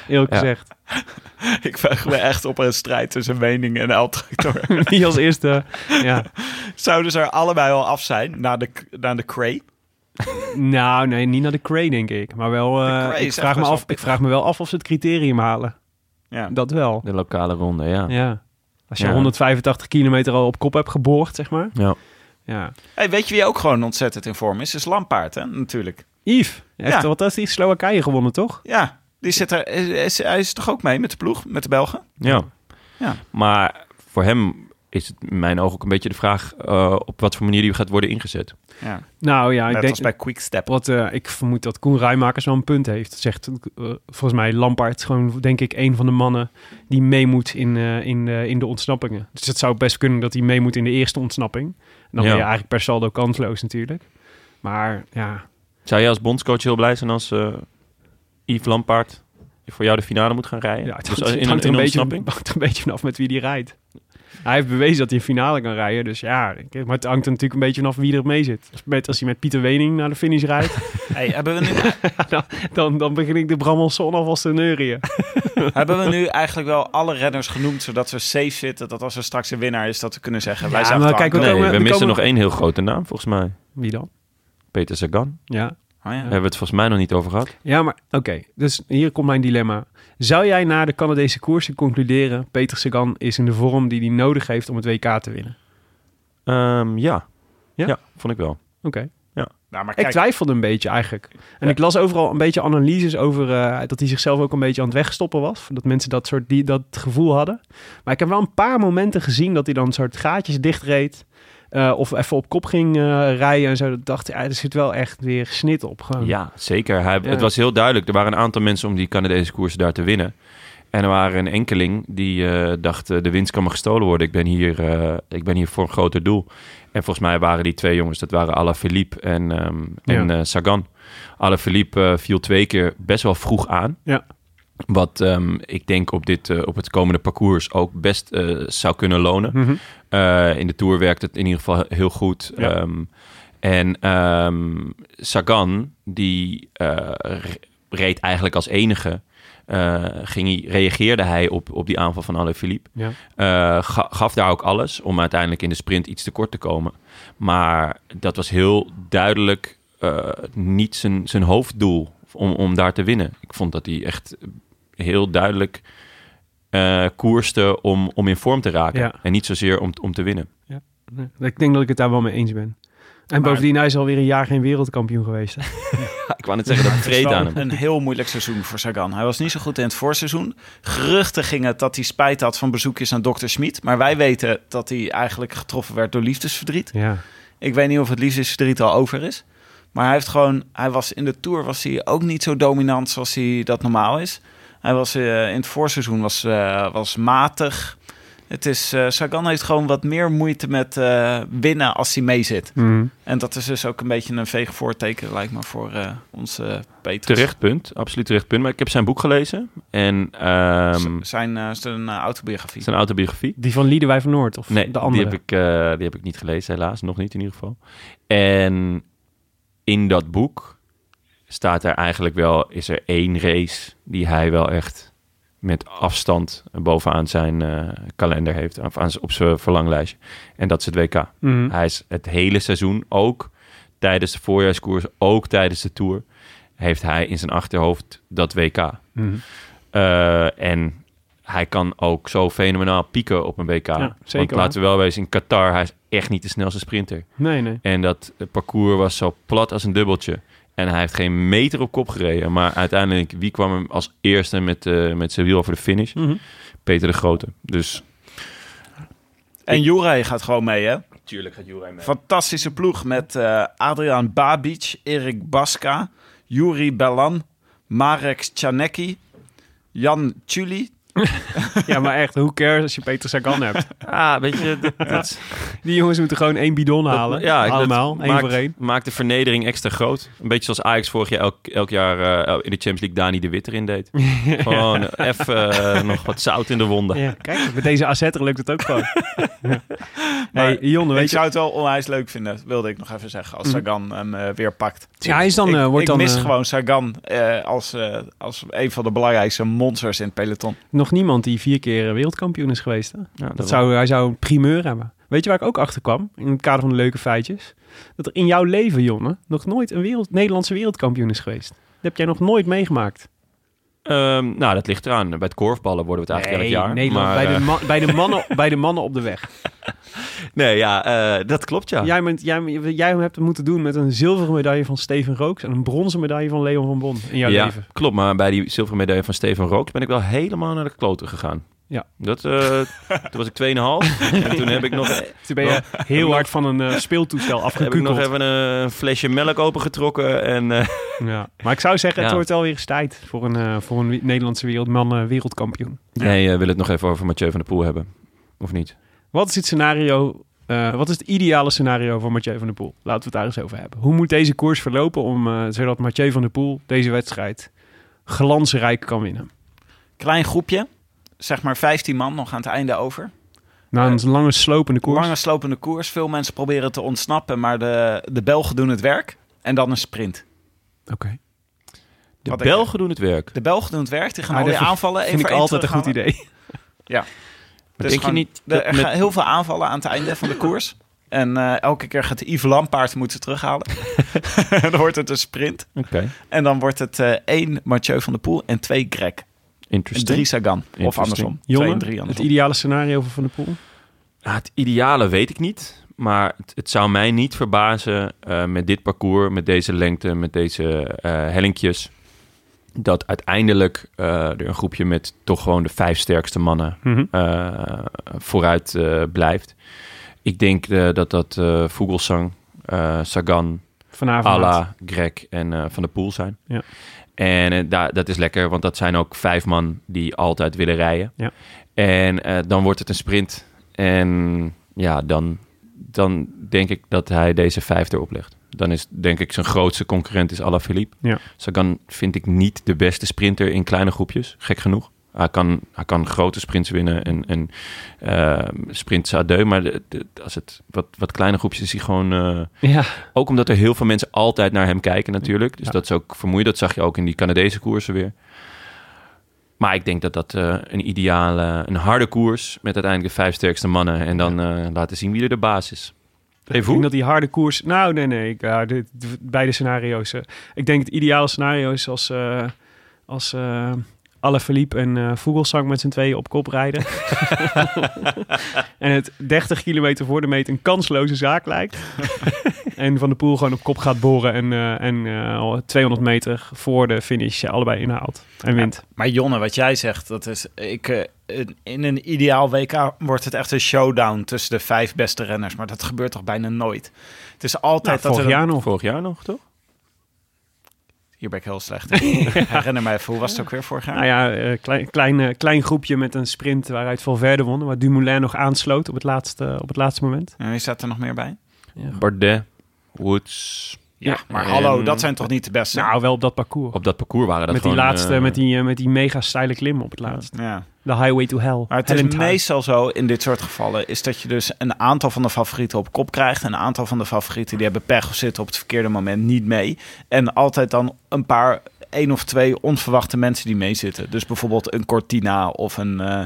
Eerlijk Ja. gezegd. Ik vraag me echt op een strijd tussen Wening en Eltractor. Die als eerste. ja. Zouden ze er allebei al af zijn na de, na de Cray? Nou, nee, niet naar de Cray denk ik. Maar wel, eh, De Cray ik, is vraag echt me best wel af, ik vraag me wel af of ze het criterium halen. Ja. Dat wel. De lokale ronde, ja. Ja. ja. Als je Ja. 185 kilometer al op kop hebt geboord, zeg maar. Ja. Hey, weet je wie ook gewoon ontzettend in vorm is? Is Lampaard, hè? Natuurlijk. Yves, heeft Ja. wat is die Slowakije gewonnen, toch? Ja, die zit er, is, hij is toch ook mee met de ploeg, met de Belgen? Ja. Maar voor hem is het in mijn ogen ook een beetje de vraag... eh, op wat voor manier die gaat worden ingezet. Ja, Nou ja, ik net denk... als bij Quickstep. Wat, eh, ik vermoed dat Koen Rijmakers wel een punt heeft. Dat zegt eh, volgens mij Lampaard is gewoon, denk ik, een van de mannen die mee moet in, eh, in, eh, in de ontsnappingen. Dus het zou best kunnen dat hij mee moet in de eerste ontsnapping. En dan Ja. ben je eigenlijk per saldo kansloos natuurlijk. Maar ja, Zou jij als bondscoach heel blij zijn als eh Yves Lampaard... voor jou de finale moet gaan rijden? ja het Dus hangt, het in, hangt in er een beetje, ontsnapping? hangt er een beetje vanaf met wie die rijdt. Hij heeft bewezen dat hij een finale kan rijden. Dus ja, ik- maar het hangt er natuurlijk een beetje vanaf wie er mee zit. Als, met, als hij met Pieter Wening naar de finish rijdt, Hey, hebben, we nu, dan, dan begin ik de Bramanson alvast te neurien. hebben we nu eigenlijk wel alle renners genoemd, zodat we safe zitten, dat als er straks een winnaar is, dat we kunnen zeggen, wij Ja, zijn maar op de kijk, hak. we Nee, komen- we we missen komen- nog één heel grote naam, volgens mij. Wie dan? Peter Sagan. Ja, Oh, ja. Daar hebben we het volgens mij nog niet over gehad. Ja, maar oké. Dus hier komt mijn dilemma. Zou jij na de Canadese koersen concluderen... Peter Sagan is in de vorm die hij nodig heeft om het WK te winnen? Ehm, ja. Ja? ja. vond ik wel. Oké. Nou, Ik maar kijk, twijfelde een beetje eigenlijk. En ik las overal een beetje analyses over... eh, dat hij zichzelf ook een beetje aan het wegstoppen was. Dat mensen dat soort die, dat gevoel hadden. Maar ik heb wel een paar momenten gezien... dat hij dan een soort gaatjes dichtreed... eh, of even op kop ging eh, rijden en zo. Dat dacht ik, ja, er zit wel echt weer snit op. Gewoon. Ja, zeker. Hij, Ja. Het was heel duidelijk. Er waren een aantal mensen om die Canadese koersen daar te winnen. En er waren een enkeling die eh, dacht, eh, de winst kan me gestolen worden. Ik ben, hier, eh, ik ben hier voor een groter doel. En volgens mij waren die twee jongens, dat waren Alaphilippe en, ehm en eh, Sagan. Alaphilippe eh, viel twee keer best wel vroeg aan. Ja. Wat ehm, ik denk op, dit, eh, op het komende parcours ook best eh, zou kunnen lonen. Mhm. Eh, in de Tour werkt het in ieder geval heel goed. Ja. Ehm, en ehm, Sagan, die eh, re- reed eigenlijk als enige... eh, ging hij, reageerde hij op, op die aanval van Alaphilippe. Ja. Eh, ga- gaf daar ook alles om uiteindelijk in de sprint iets tekort te komen. Maar dat was heel duidelijk eh, niet zijn, zijn hoofddoel om, om daar te winnen. Ik vond dat hij echt heel duidelijk eh, koerste om, om in vorm te raken. Ja. En niet zozeer om, om te winnen. Nee, Ik denk dat ik het daar wel mee eens ben. En bovendien, hij is alweer een jaar geen wereldkampioen geweest. hè? ik wou net zeggen, dat Het is vreed wel aan hem. een heel moeilijk seizoen voor Sagan. Hij was niet zo goed in het voorseizoen. Geruchten gingen het dat hij spijt had van bezoekjes aan dokter Schmid. Maar wij weten dat hij eigenlijk getroffen werd door liefdesverdriet. Ja. Ik weet niet of het liefdesverdriet al over is. Maar hij heeft gewoon, hij was in de Tour was hij ook niet zo dominant zoals hij dat normaal is. Hij was eh, in het voorseizoen was, eh, was matig. Het is, eh, Sagan heeft gewoon wat meer moeite met eh, winnen als hij mee zit. Mhm. En dat is dus ook een beetje een veeg voorteken, lijkt me, voor eh, onze Peter. Terecht punt, absoluut terecht punt. Maar ik heb zijn boek gelezen en ehm, zijn, eh, zijn eh, autobiografie. zijn autobiografie. Die van Liedewij van Noord of Nee, de andere? Die, heb ik, eh, die heb ik niet gelezen, helaas. Nog niet in ieder geval. En in dat boek staat er eigenlijk wel... is er één race die hij wel echt met afstand bovenaan zijn eh, kalender heeft. Of aan, z- op zijn verlanglijstje. En dat is het WK. Mhm. Hij is het hele seizoen, ook tijdens de voorjaarskoers, ook tijdens de Tour... heeft hij in zijn achterhoofd dat WK. Hm. Eh, en hij kan ook zo fenomenaal pieken op een WK. zeker, Want hoor. laten we wel wezen, in Qatar, hij is echt niet de snelste sprinter. Nee, nee. En dat eh, parcours was zo plat als een dubbeltje. En hij heeft geen meter op kop gereden. Maar uiteindelijk, wie kwam hem als eerste met, eh, met zijn wiel over de finish? Mhm. Peter de Grote. Dus En Juraj gaat gewoon mee, hè? Tuurlijk gaat Juraj mee. Fantastische ploeg met eh, Adriaan Babic, Erik Baska, Juri Belan, Marek Czanecki, Jan Tjuli. Ja, maar echt, hoe cares als je Peter Sagan hebt? Ah, weet je, dat, dat- Die jongens moeten gewoon één bidon dat- halen. ja, dat Allemaal, één maakt, voor één. Maakt de vernedering extra groot. Een beetje zoals Ajax vorig jaar elk, elk jaar eh, in de Champions League Dani de Wit erin deed. Gewoon eh, even eh, nog wat zout in de wonden. Ja, kijk, met deze assetter lukt het ook gewoon. Ja. hey, Jon, Ik weet je... Mhm. zou het wel onwijs leuk vinden, wilde ik nog even zeggen, als Sagan hem eh, weer pakt. Ja, hij is dan, ik, eh, wordt ik dan mis eh, gewoon Sagan eh, als, eh, als een van de belangrijkste monsters in het peloton. nog niemand die vier keer eh, wereldkampioen is geweest. Hè? Ja, Dat zou, hij zou een primeur hebben. Weet je waar ik ook achter kwam? In het kader van de leuke feitjes. Dat er in jouw leven, Jonne, nog nooit een wereld, Nederlandse wereldkampioen is geweest. Dat heb jij nog nooit meegemaakt. Ehm, nou, dat ligt eraan. Bij het korfballen worden we het eigenlijk elk jaar. Nederland, maar, bij, de eh, ma- bij, de mannen, bij de mannen op de weg. nee, ja, eh, dat klopt ja. Jij, bent, jij, jij hebt het moeten doen met een zilveren medaille van Steven Rooks... en een bronzen medaille van Leon van Bon in jouw Ja, leven. klopt. Maar bij die zilveren medaille van Steven Rooks ben ik wel helemaal naar de kloten gegaan. Ja. Dat, eh, toen was ik 2,5. en toen heb ik nog, Toen ben je heel hard van een eh, speeltoestel heb ik nog afgekukeld. even een flesje melk opengetrokken. En, eh, Ja. Maar ik zou zeggen, het Ja. wordt wel weer eens tijd... voor een, eh, voor een wi- Nederlandse wereldman eh, wereldkampioen. Nee, eh, wil het nog even over Mathieu van der Poel hebben. Of niet? Wat is het scenario? eh, wat is het ideale scenario voor Mathieu van der Poel? Laten we het daar eens over hebben. Hoe moet deze koers verlopen om, eh, zodat Mathieu van der Poel deze wedstrijd glansrijk kan winnen? Klein groepje, zeg maar 15 man nog aan het einde over. Na een lange slopende koers. Eh, Lange slopende koers, veel mensen proberen te ontsnappen, maar de, de Belgen doen het werk. En dan een sprint. Oké. De Wat Belgen doen het werk. De Belgen doen het werk, die gaan Ah, al die dat aanvallen. één Vind ik voor één altijd een goed terughalen. idee. Maar Dus denk je gewoon- niet De- dat er met- gaan heel veel aanvallen aan het einde van de koers. En eh, elke keer gaat Yves Lampaard moeten terughalen. dan wordt het een sprint. Oké, En dan wordt het eh één Mathieu van der Poel en twee Greg. En interesting. drie Sagan. Of Interesting. andersom. twee en drie Jongen, het andersom. ideale scenario voor Van der Poel. Ah, het ideale weet ik niet. Maar het, het zou mij niet verbazen eh, met dit parcours, met deze lengte, met deze eh hellinkjes. Dat uiteindelijk eh, er een groepje met toch gewoon de vijf sterkste mannen Mhm. eh, vooruit eh, blijft. Ik denk eh, dat dat eh Vogelsang, eh, Sagan, Vanavond. Alla, Greg en eh, Van der Poel zijn. Ja. En eh, da- dat is lekker, want dat zijn ook vijf man die altijd willen rijden. Ja. En eh, dan wordt het een sprint. En ja, dan, dan denk ik dat hij deze vijf erop legt. Dan is denk ik zijn grootste concurrent is Alaphilippe. Ja. Sagan vind ik niet de beste sprinter in kleine groepjes, gek genoeg. Hij kan, hij kan grote sprints winnen en, en eh, sprints à deux. Maar de- de- als het wat, wat kleine groepjes is hij gewoon... eh, Ja. ook omdat er heel veel mensen altijd naar hem kijken natuurlijk. Dus Ja. dat is ook vermoeiend. Dat zag je ook in die Canadese koersen weer. Maar ik denk dat dat eh, een ideale, een harde koers... met uiteindelijk de vijf sterkste mannen. En dan eh, laten zien wie er de baas is. Ik Even denk hoe? dat die harde koers... Nou, nee, nee. Ik, ja, dit, beide scenario's. eh. ik denk het ideale scenario is als... eh als eh Alaphilippe en eh Vogelsang met z'n tweeën op kop rijden. en het 30 kilometer voor de meet een kansloze zaak lijkt. en Van der Poel gewoon op kop gaat boren en, eh, en eh, 200 meter voor de finish eh, allebei inhaalt. En wint. Maar Jonne, wat jij zegt, dat is... Ik, eh, in- in een ideaal WK wordt het echt een showdown tussen de vijf beste renners. Maar dat gebeurt toch bijna nooit? Het is Nou, altijd dat vorig er... een- jaar nog. Vorig jaar nog, toch? Hier ben ik heel slecht in. Herinner mij even, hoe was het ook weer vorig jaar? Nou ja, eh, klein, klein, eh, klein groepje met een sprint waaruit Valverde won. Waar Dumoulin nog aansloot op het laatste, op het laatste moment. En wie staat er nog meer bij? Bardet, Woods. Ja, maar en- hallo, dat zijn toch niet de beste? Nou, wel op dat parcours. Op dat parcours waren dat met die gewoon, laatste, eh, met die, eh, met die mega steile klim op het laatst. ja. De highway to hell. Maar het Hell is in time. meestal zo in dit soort gevallen, is dat je dus een aantal van de favorieten op kop krijgt. Een aantal van de favorieten die hebben pech of zitten op het verkeerde moment niet mee. En altijd dan een paar, één of twee onverwachte mensen die meezitten. Dus bijvoorbeeld een Cortina of een, eh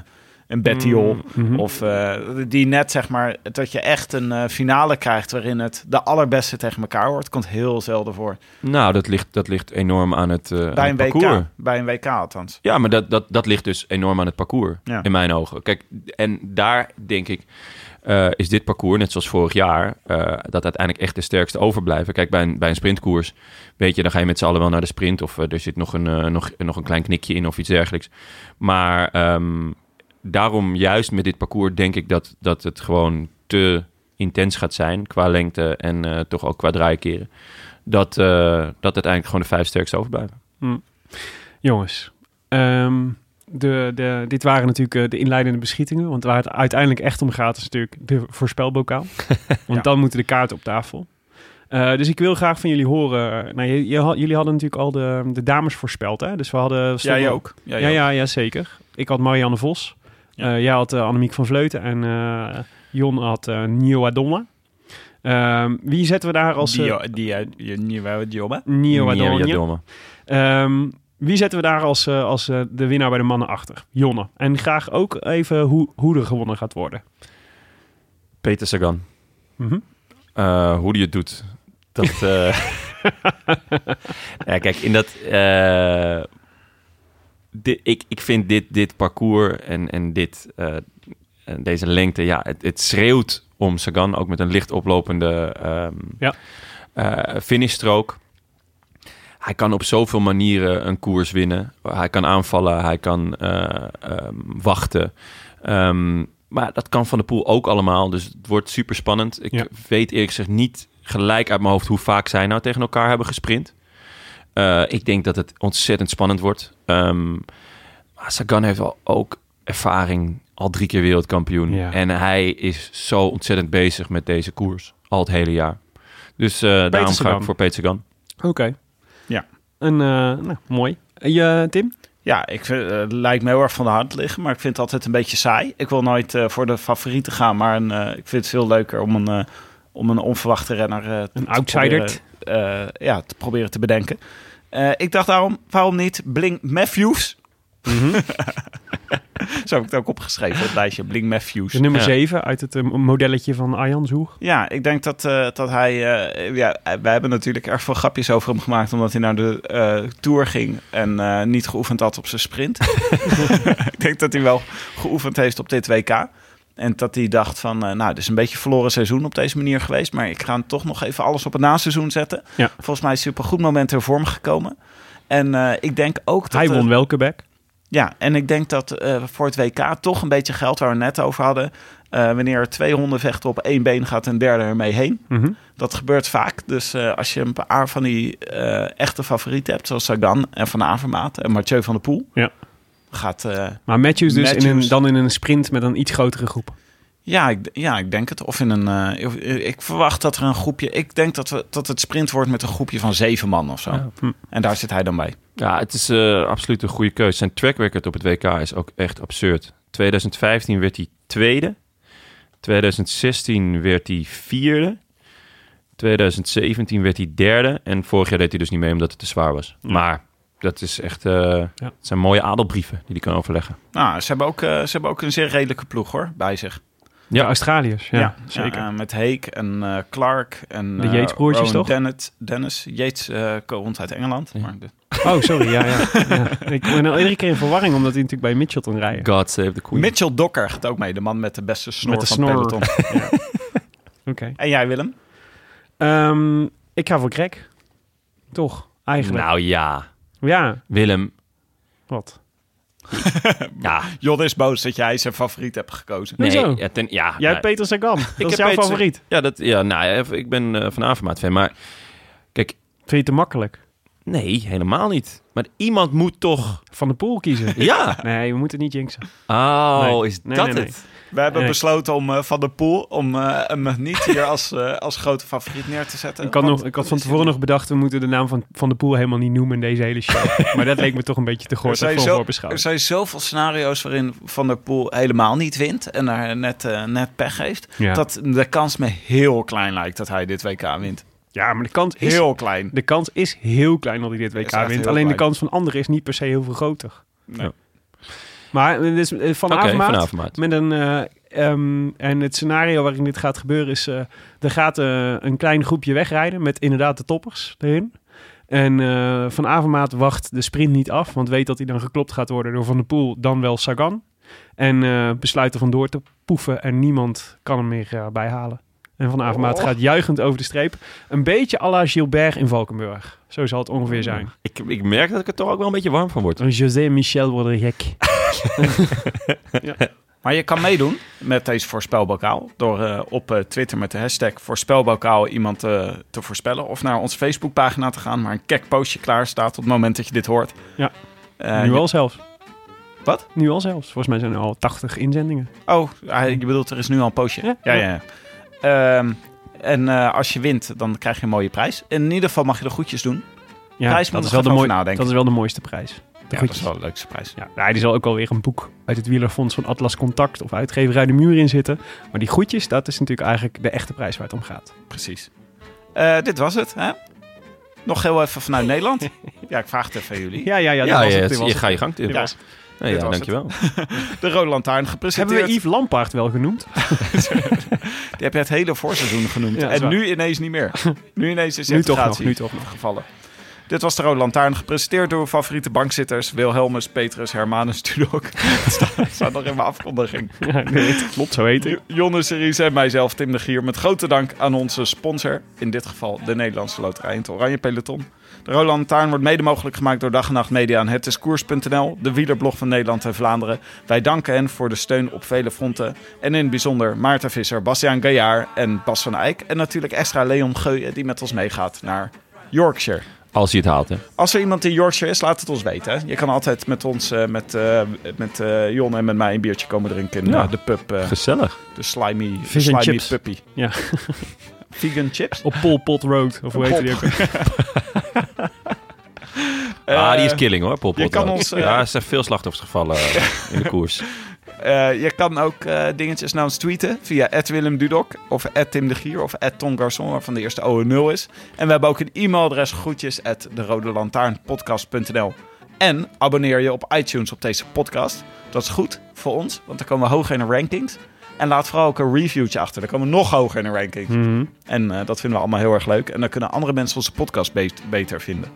een Bettiol. Mhm. Of eh, die net zeg maar, dat je echt een eh, finale krijgt waarin het de allerbeste tegen elkaar wordt. Komt heel zelden voor. Nou, dat ligt, dat ligt enorm aan het, eh, aan Bij een het parcours. WK. Bij een WK althans. Ja, maar dat, dat, dat ligt dus enorm aan het parcours, Ja. in mijn ogen. Kijk, en daar denk ik, eh, is dit parcours, net zoals vorig jaar, eh, dat uiteindelijk echt de sterkste overblijven. Kijk, bij een, bij een sprintkoers, weet je, dan ga je met z'n allen wel naar de sprint. Of eh, er zit nog een, eh, nog, nog een klein knikje in of iets dergelijks. Maar ehm, daarom juist met dit parcours denk ik dat, dat het gewoon te intens gaat zijn qua lengte en eh, toch ook qua draaikeren. Dat, eh, dat uiteindelijk gewoon de vijf sterkste overblijven. Jongens, ehm, de, de, dit waren natuurlijk eh, de inleidende beschietingen. Want waar het uiteindelijk echt om gaat, is natuurlijk de voorspelbokaal. Want dan moeten de kaarten op tafel. Eh, dus ik wil graag van jullie horen. eh, Nou, je, je had- jullie hadden natuurlijk al de, de dames voorspeld, hè? Dus we hadden... we stonden- Ja, Ja, ja, ja, zeker. Ik had Marianne Vos. Ja. Eh, jij had eh, Annemiek van Vleuten. En eh, Jon had eh Nio Adonna. Ehm, wie zetten we daar als... eh, Die, die, die, nieuwe jobben. Nio Adonna. Jadonna. Ehm, wie zetten we daar als, eh, als eh, de winnaar bij de mannen achter? Jonne. En graag ook even hoe, hoe er gewonnen gaat worden. Peter Sagan. Mhm. Eh, hoe die het doet. Dat, eh, ja, kijk, in dat... eh, di- ik, ik vind dit, dit parcours en, en dit, eh, en deze lengte... Ja, het, het schreeuwt om Sagan. Ook met een licht oplopende ehm Ja. eh, finishstrook. Hij kan op zoveel manieren een koers winnen. Hij kan aanvallen, hij kan eh, ehm, wachten. Ehm, maar dat kan Van de Poel ook allemaal. Dus het wordt super spannend. Ik Ja. weet eerlijk gezegd niet gelijk uit mijn hoofd hoe vaak zij nou tegen elkaar hebben gesprint. Eh, ik denk dat het ontzettend spannend wordt. Ehm, maar Sagan heeft al ook ervaring. Al drie keer wereldkampioen. Ja. En hij is zo ontzettend bezig met deze koers. Al het hele jaar. Dus eh, daarom ga Sagan. ik voor Peter Sagan. Oké. Ja. En, eh, nou, mooi. En je, Tim? Ja, ik vind, eh, het lijkt me heel erg van de hand liggen, maar ik vind het altijd een beetje saai. Ik wil nooit eh, voor de favorieten gaan, maar een, eh, ik vind het veel leuker om een, eh, om een onverwachte renner eh, te- Een te outsider. proberen, eh, ja, te proberen te bedenken. Eh, ik dacht daarom, waarom niet Blink Matthews? Mhm. Zo heb ik het ook opgeschreven, het lijstje Blink Matthews. De nummer Ja. 7 uit het eh, modelletje van Arjan Zoeg. Ja, ik denk dat, eh, dat hij... eh, ja, wij hebben natuurlijk erg veel grapjes over hem gemaakt... omdat hij naar de eh, Tour ging en eh, niet geoefend had op zijn sprint. ik denk dat hij wel geoefend heeft op dit WK. En dat hij dacht van, eh, nou, het is een beetje verloren seizoen op deze manier geweest... maar ik ga hem toch nog even alles op het naseizoen zetten. Ja. Volgens mij is hij op een goed moment in vorm gekomen. En eh, ik denk ook dat... Hij eh, won wel Quebec. ja, en ik denk dat eh, voor het WK toch een beetje geld waar we net over hadden. eh, wanneer er twee honden vechten op één been, gaat een derde ermee heen. Mhm. Dat gebeurt vaak. Dus eh, als je een paar van die eh, echte favorieten hebt, zoals Sagan en Van Avermaat en Mathieu van der Poel, Ja. gaat. eh, Maar Matthews dus In een, Matthews. dan in een sprint met een iets grotere groep. ja, ik, ja, ik denk het. Of in een. eh, of- eh, ik verwacht dat er een groepje. Ik denk dat, we, dat het sprint wordt met een groepje van zeven man of zo. Ja. Hm. En daar zit hij dan bij. Ja, het is eh, absoluut een goede keuze. Zijn track record op het WK is ook echt absurd. 2015 werd hij tweede. 2016 werd hij vierde. 2017 werd hij derde. En vorig jaar deed hij dus niet mee omdat het te zwaar was. Maar dat is echt, eh, het zijn mooie adelbrieven die hij kan overleggen. Nou, ze hebben, ook, eh, ze hebben ook een zeer redelijke ploeg hoor, bij zich. Ja, Australiërs. Ja, zeker. Ja, eh, met Heek en eh, Clark en De eh, Yates-broertjes, Rowan toch? Dennett, Dennis. Yates eh, komt uit Engeland. Ja. Maar de- Oh, sorry. Ja, ja. ja. Ik ben al iedere keer in verwarring omdat hij natuurlijk bij Mitchelton rijden. God save the queen. Mitchell Docker gaat ook mee, de man met de beste snor Met de van snor. peloton. Oké. En jij Willem? Ehm, ik ga voor Greg. Toch? Eigenlijk. nou ja, Ja, Willem. wat? Ja, Jod is boos dat jij zijn favoriet hebt gekozen. nee, Hoezo? ja, ten- ja, Jij nou, hebt Peter Sagan. Dat is heb jouw Peter- favoriet. ja, dat, ja, nou, ja, ik ben eh, van Avermaat fan, maar Vind je het te makkelijk? Nee, helemaal niet. Maar iemand moet toch... Van de pool kiezen. Ja! Nee, we moeten niet jinxen. Oh, Nee. is Nee, dat nee, nee. het? We hebben Nee. besloten om eh, Van der Poel om, eh, hem niet hier als, eh, als grote favoriet neer te zetten. Ik had, Want- nog, ik had van tevoren nog bedacht, we moeten de naam van Van de Poel helemaal niet noemen in deze hele show. maar dat leek me toch een beetje te Er goor zijn, voor zo, er voorbeschouwing. zijn zoveel scenario's waarin Van der Poel helemaal niet wint en daar net, eh, net pech heeft. Ja. Dat de kans me heel klein lijkt dat hij dit WK wint. Ja, maar de kans is, Heel klein. de kans is heel klein dat hij dit Is WK echt wint. heel Alleen de klein. kans van anderen is niet per se heel veel groter. Nee. Maar eh, dus, eh, van Oké, Avermaat, Van Avermaat. Met een, eh, ehm, en het scenario waarin dit gaat gebeuren is... eh, er gaat eh, een klein groepje wegrijden met inderdaad de toppers erin. En eh, Van Avermaat wacht de sprint niet af... want weet dat hij dan geklopt gaat worden door Van der Poel, dan wel Sagan. En eh, besluit er vandoor te poeven en niemand kan hem meer eh, bijhalen. En Van Avermaat gaat juichend over de streep. Een beetje à la Gilbert in Valkenburg. Zo zal het ongeveer zijn. Ik, ik merk dat ik er toch ook wel een beetje warm van word. Een José Michel wordt er gek. Maar je kan meedoen met deze voorspelbokaal door eh, op eh, Twitter met de hashtag voorspelbokaal iemand eh, te voorspellen. Of naar onze Facebookpagina te gaan, maar een kek postje klaar staat op het moment dat je dit hoort. Ja. Eh, nu al zelfs. Wat? Nu al zelfs. Volgens mij zijn er al 80 inzendingen. Oh, hij- je bedoelt er is nu al een poosje. Ja, Ja, ja. Ehm, en eh, als je wint, dan krijg je een mooie prijs. In ieder geval mag je de goedjes doen. Ja, Prijs dat, moet nog is wel even de mooi, over nadenken. dat is wel de mooiste prijs. De Ja, dat goedjes. is wel een leukste prijs. ja, nou, er zal ook alweer een boek uit het wielerfonds van Atlas Contact of uitgeverij De Muur in zitten. Maar die goedjes, dat is natuurlijk eigenlijk de echte prijs waar het om gaat. Precies. Eh, dit was het, hè? Nog heel even vanuit Nederland. Ja, ik vraag het even aan jullie. Ja, ja, ja. Ja, dat ja, was het, het- dit was je het. ga je gang. Tim. Dit Ja, was het. Nou dit ja was dankjewel. De Rode Lantaarn Hebben gepresenteerd. we Yves Lampaard wel genoemd? Die heb je het hele voorseizoen genoemd. Ja, dat is en waar. nu ineens niet meer. Nu ineens is de Nu toch nog, integratie nu toch nog. gevallen. Dit was de Rode Lantaarn, gepresenteerd door uw favoriete bankzitters... Wilhelmus, Petrus, Hermanus, Tudok. Het staat- het staat nog in mijn afkondiging. Ja, nee, het klopt, zo heet ik. Jo- Jonne Series en mijzelf, Tim de Gier. Met grote dank aan onze sponsor. In dit geval de Nederlandse Loterij en het Oranje Peloton. De Roland Taarn wordt mede mogelijk gemaakt door Dag en Nacht Media en Het is Koers.nl, de wielerblog van Nederland en Vlaanderen. Wij danken hen voor de steun op vele fronten. En in het bijzonder Maarten Visser, Bastiaan Gaillard en Bas van Eyck. En natuurlijk extra Leon Geuyen die met ons meegaat naar Yorkshire. Als hij het haalt, hè. Als er iemand in Yorkshire is, laat het ons weten. hè. Je kan altijd met ons, eh, met, eh met eh, Jon en met mij een biertje komen drinken in Ja. eh, de pub. eh, Gezellig. de slimy, Fish slimy and chips. puppy. Ja. Vegan chips? Op Pol Pot Road, of hoe heet die ook? ah, die is Eh, killing hoor, Pol je Pot kan wel. ons, eh, Ja, er zijn veel slachtoffers gevallen eh, in de koers. eh, je kan ook eh, dingetjes naar ons tweeten via Willem Dudok of Tim de Gier of Tom Garçon, waarvan de eerste O 0 is. En we hebben ook een e-mailadres groetjes at derodelantaarnpodcast.nl. En abonneer je op iTunes op deze podcast. Dat is goed voor ons, want dan komen we hoger in de rankings. En laat vooral ook een reviewtje achter. Dan komen we nog hoger in de rankings. Hm. Mhm. En eh, dat vinden we allemaal heel erg leuk. En dan kunnen andere mensen onze podcast be- beter vinden.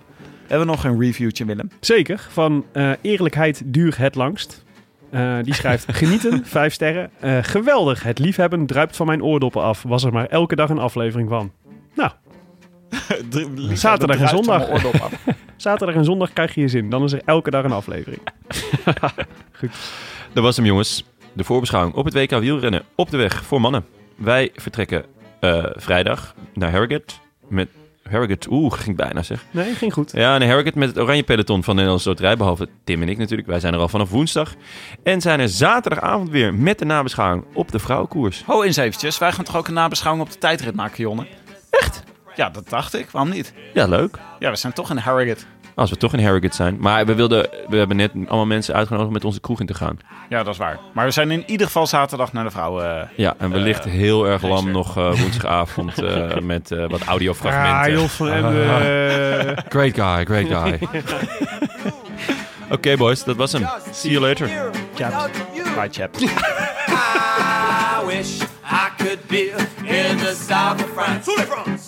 Hebben we nog een reviewtje, Willem? Zeker, van eh, Eerlijkheid duur het langst. Eh, die schrijft, genieten, vijf sterren. Eh, geweldig, het liefhebben druipt van mijn oordoppen af. Was er maar elke dag een aflevering van. Drie- Zaterdag en dat druipt zondag. van mijn oordop af. Zaterdag en zondag krijg je je zin. Dan is er elke dag een aflevering. Dat was hem, jongens. De voorbeschouwing op het WK wielrennen op de weg voor mannen. Wij vertrekken eh, vrijdag naar Harrogate. Met Harrogate, oeh, ging ik bijna zeg. Nee, ging goed. Ja, en Harrogate met het oranje peloton van de Nederlandse Loterij. Behalve Tim en ik natuurlijk. Wij zijn er al vanaf woensdag. En zijn er zaterdagavond weer met de nabeschouwing op de vrouwenkoers. Ho eens eventjes, wij gaan toch ook een nabeschouwing op de tijdrit maken, Jonne? Echt? Ja, dat dacht ik. Waarom niet? Ja, leuk. Ja, we zijn toch in Harrogate. Als we toch in Harrogate zijn. Maar we, wilden, we hebben net allemaal mensen uitgenodigd om met onze kroeg in te gaan. Ja, dat is waar. Maar we zijn in ieder geval zaterdag naar de vrouwen. eh, Ja, en wellicht heel erg nee, lam sir. nog eh, woensdagavond eh, met eh, wat Ah, audiofragmenten. Jos van Emden. Great guy, great guy. Oké boys, dat was hem. See you later. Bye, chap. I wish I could be in the south of France.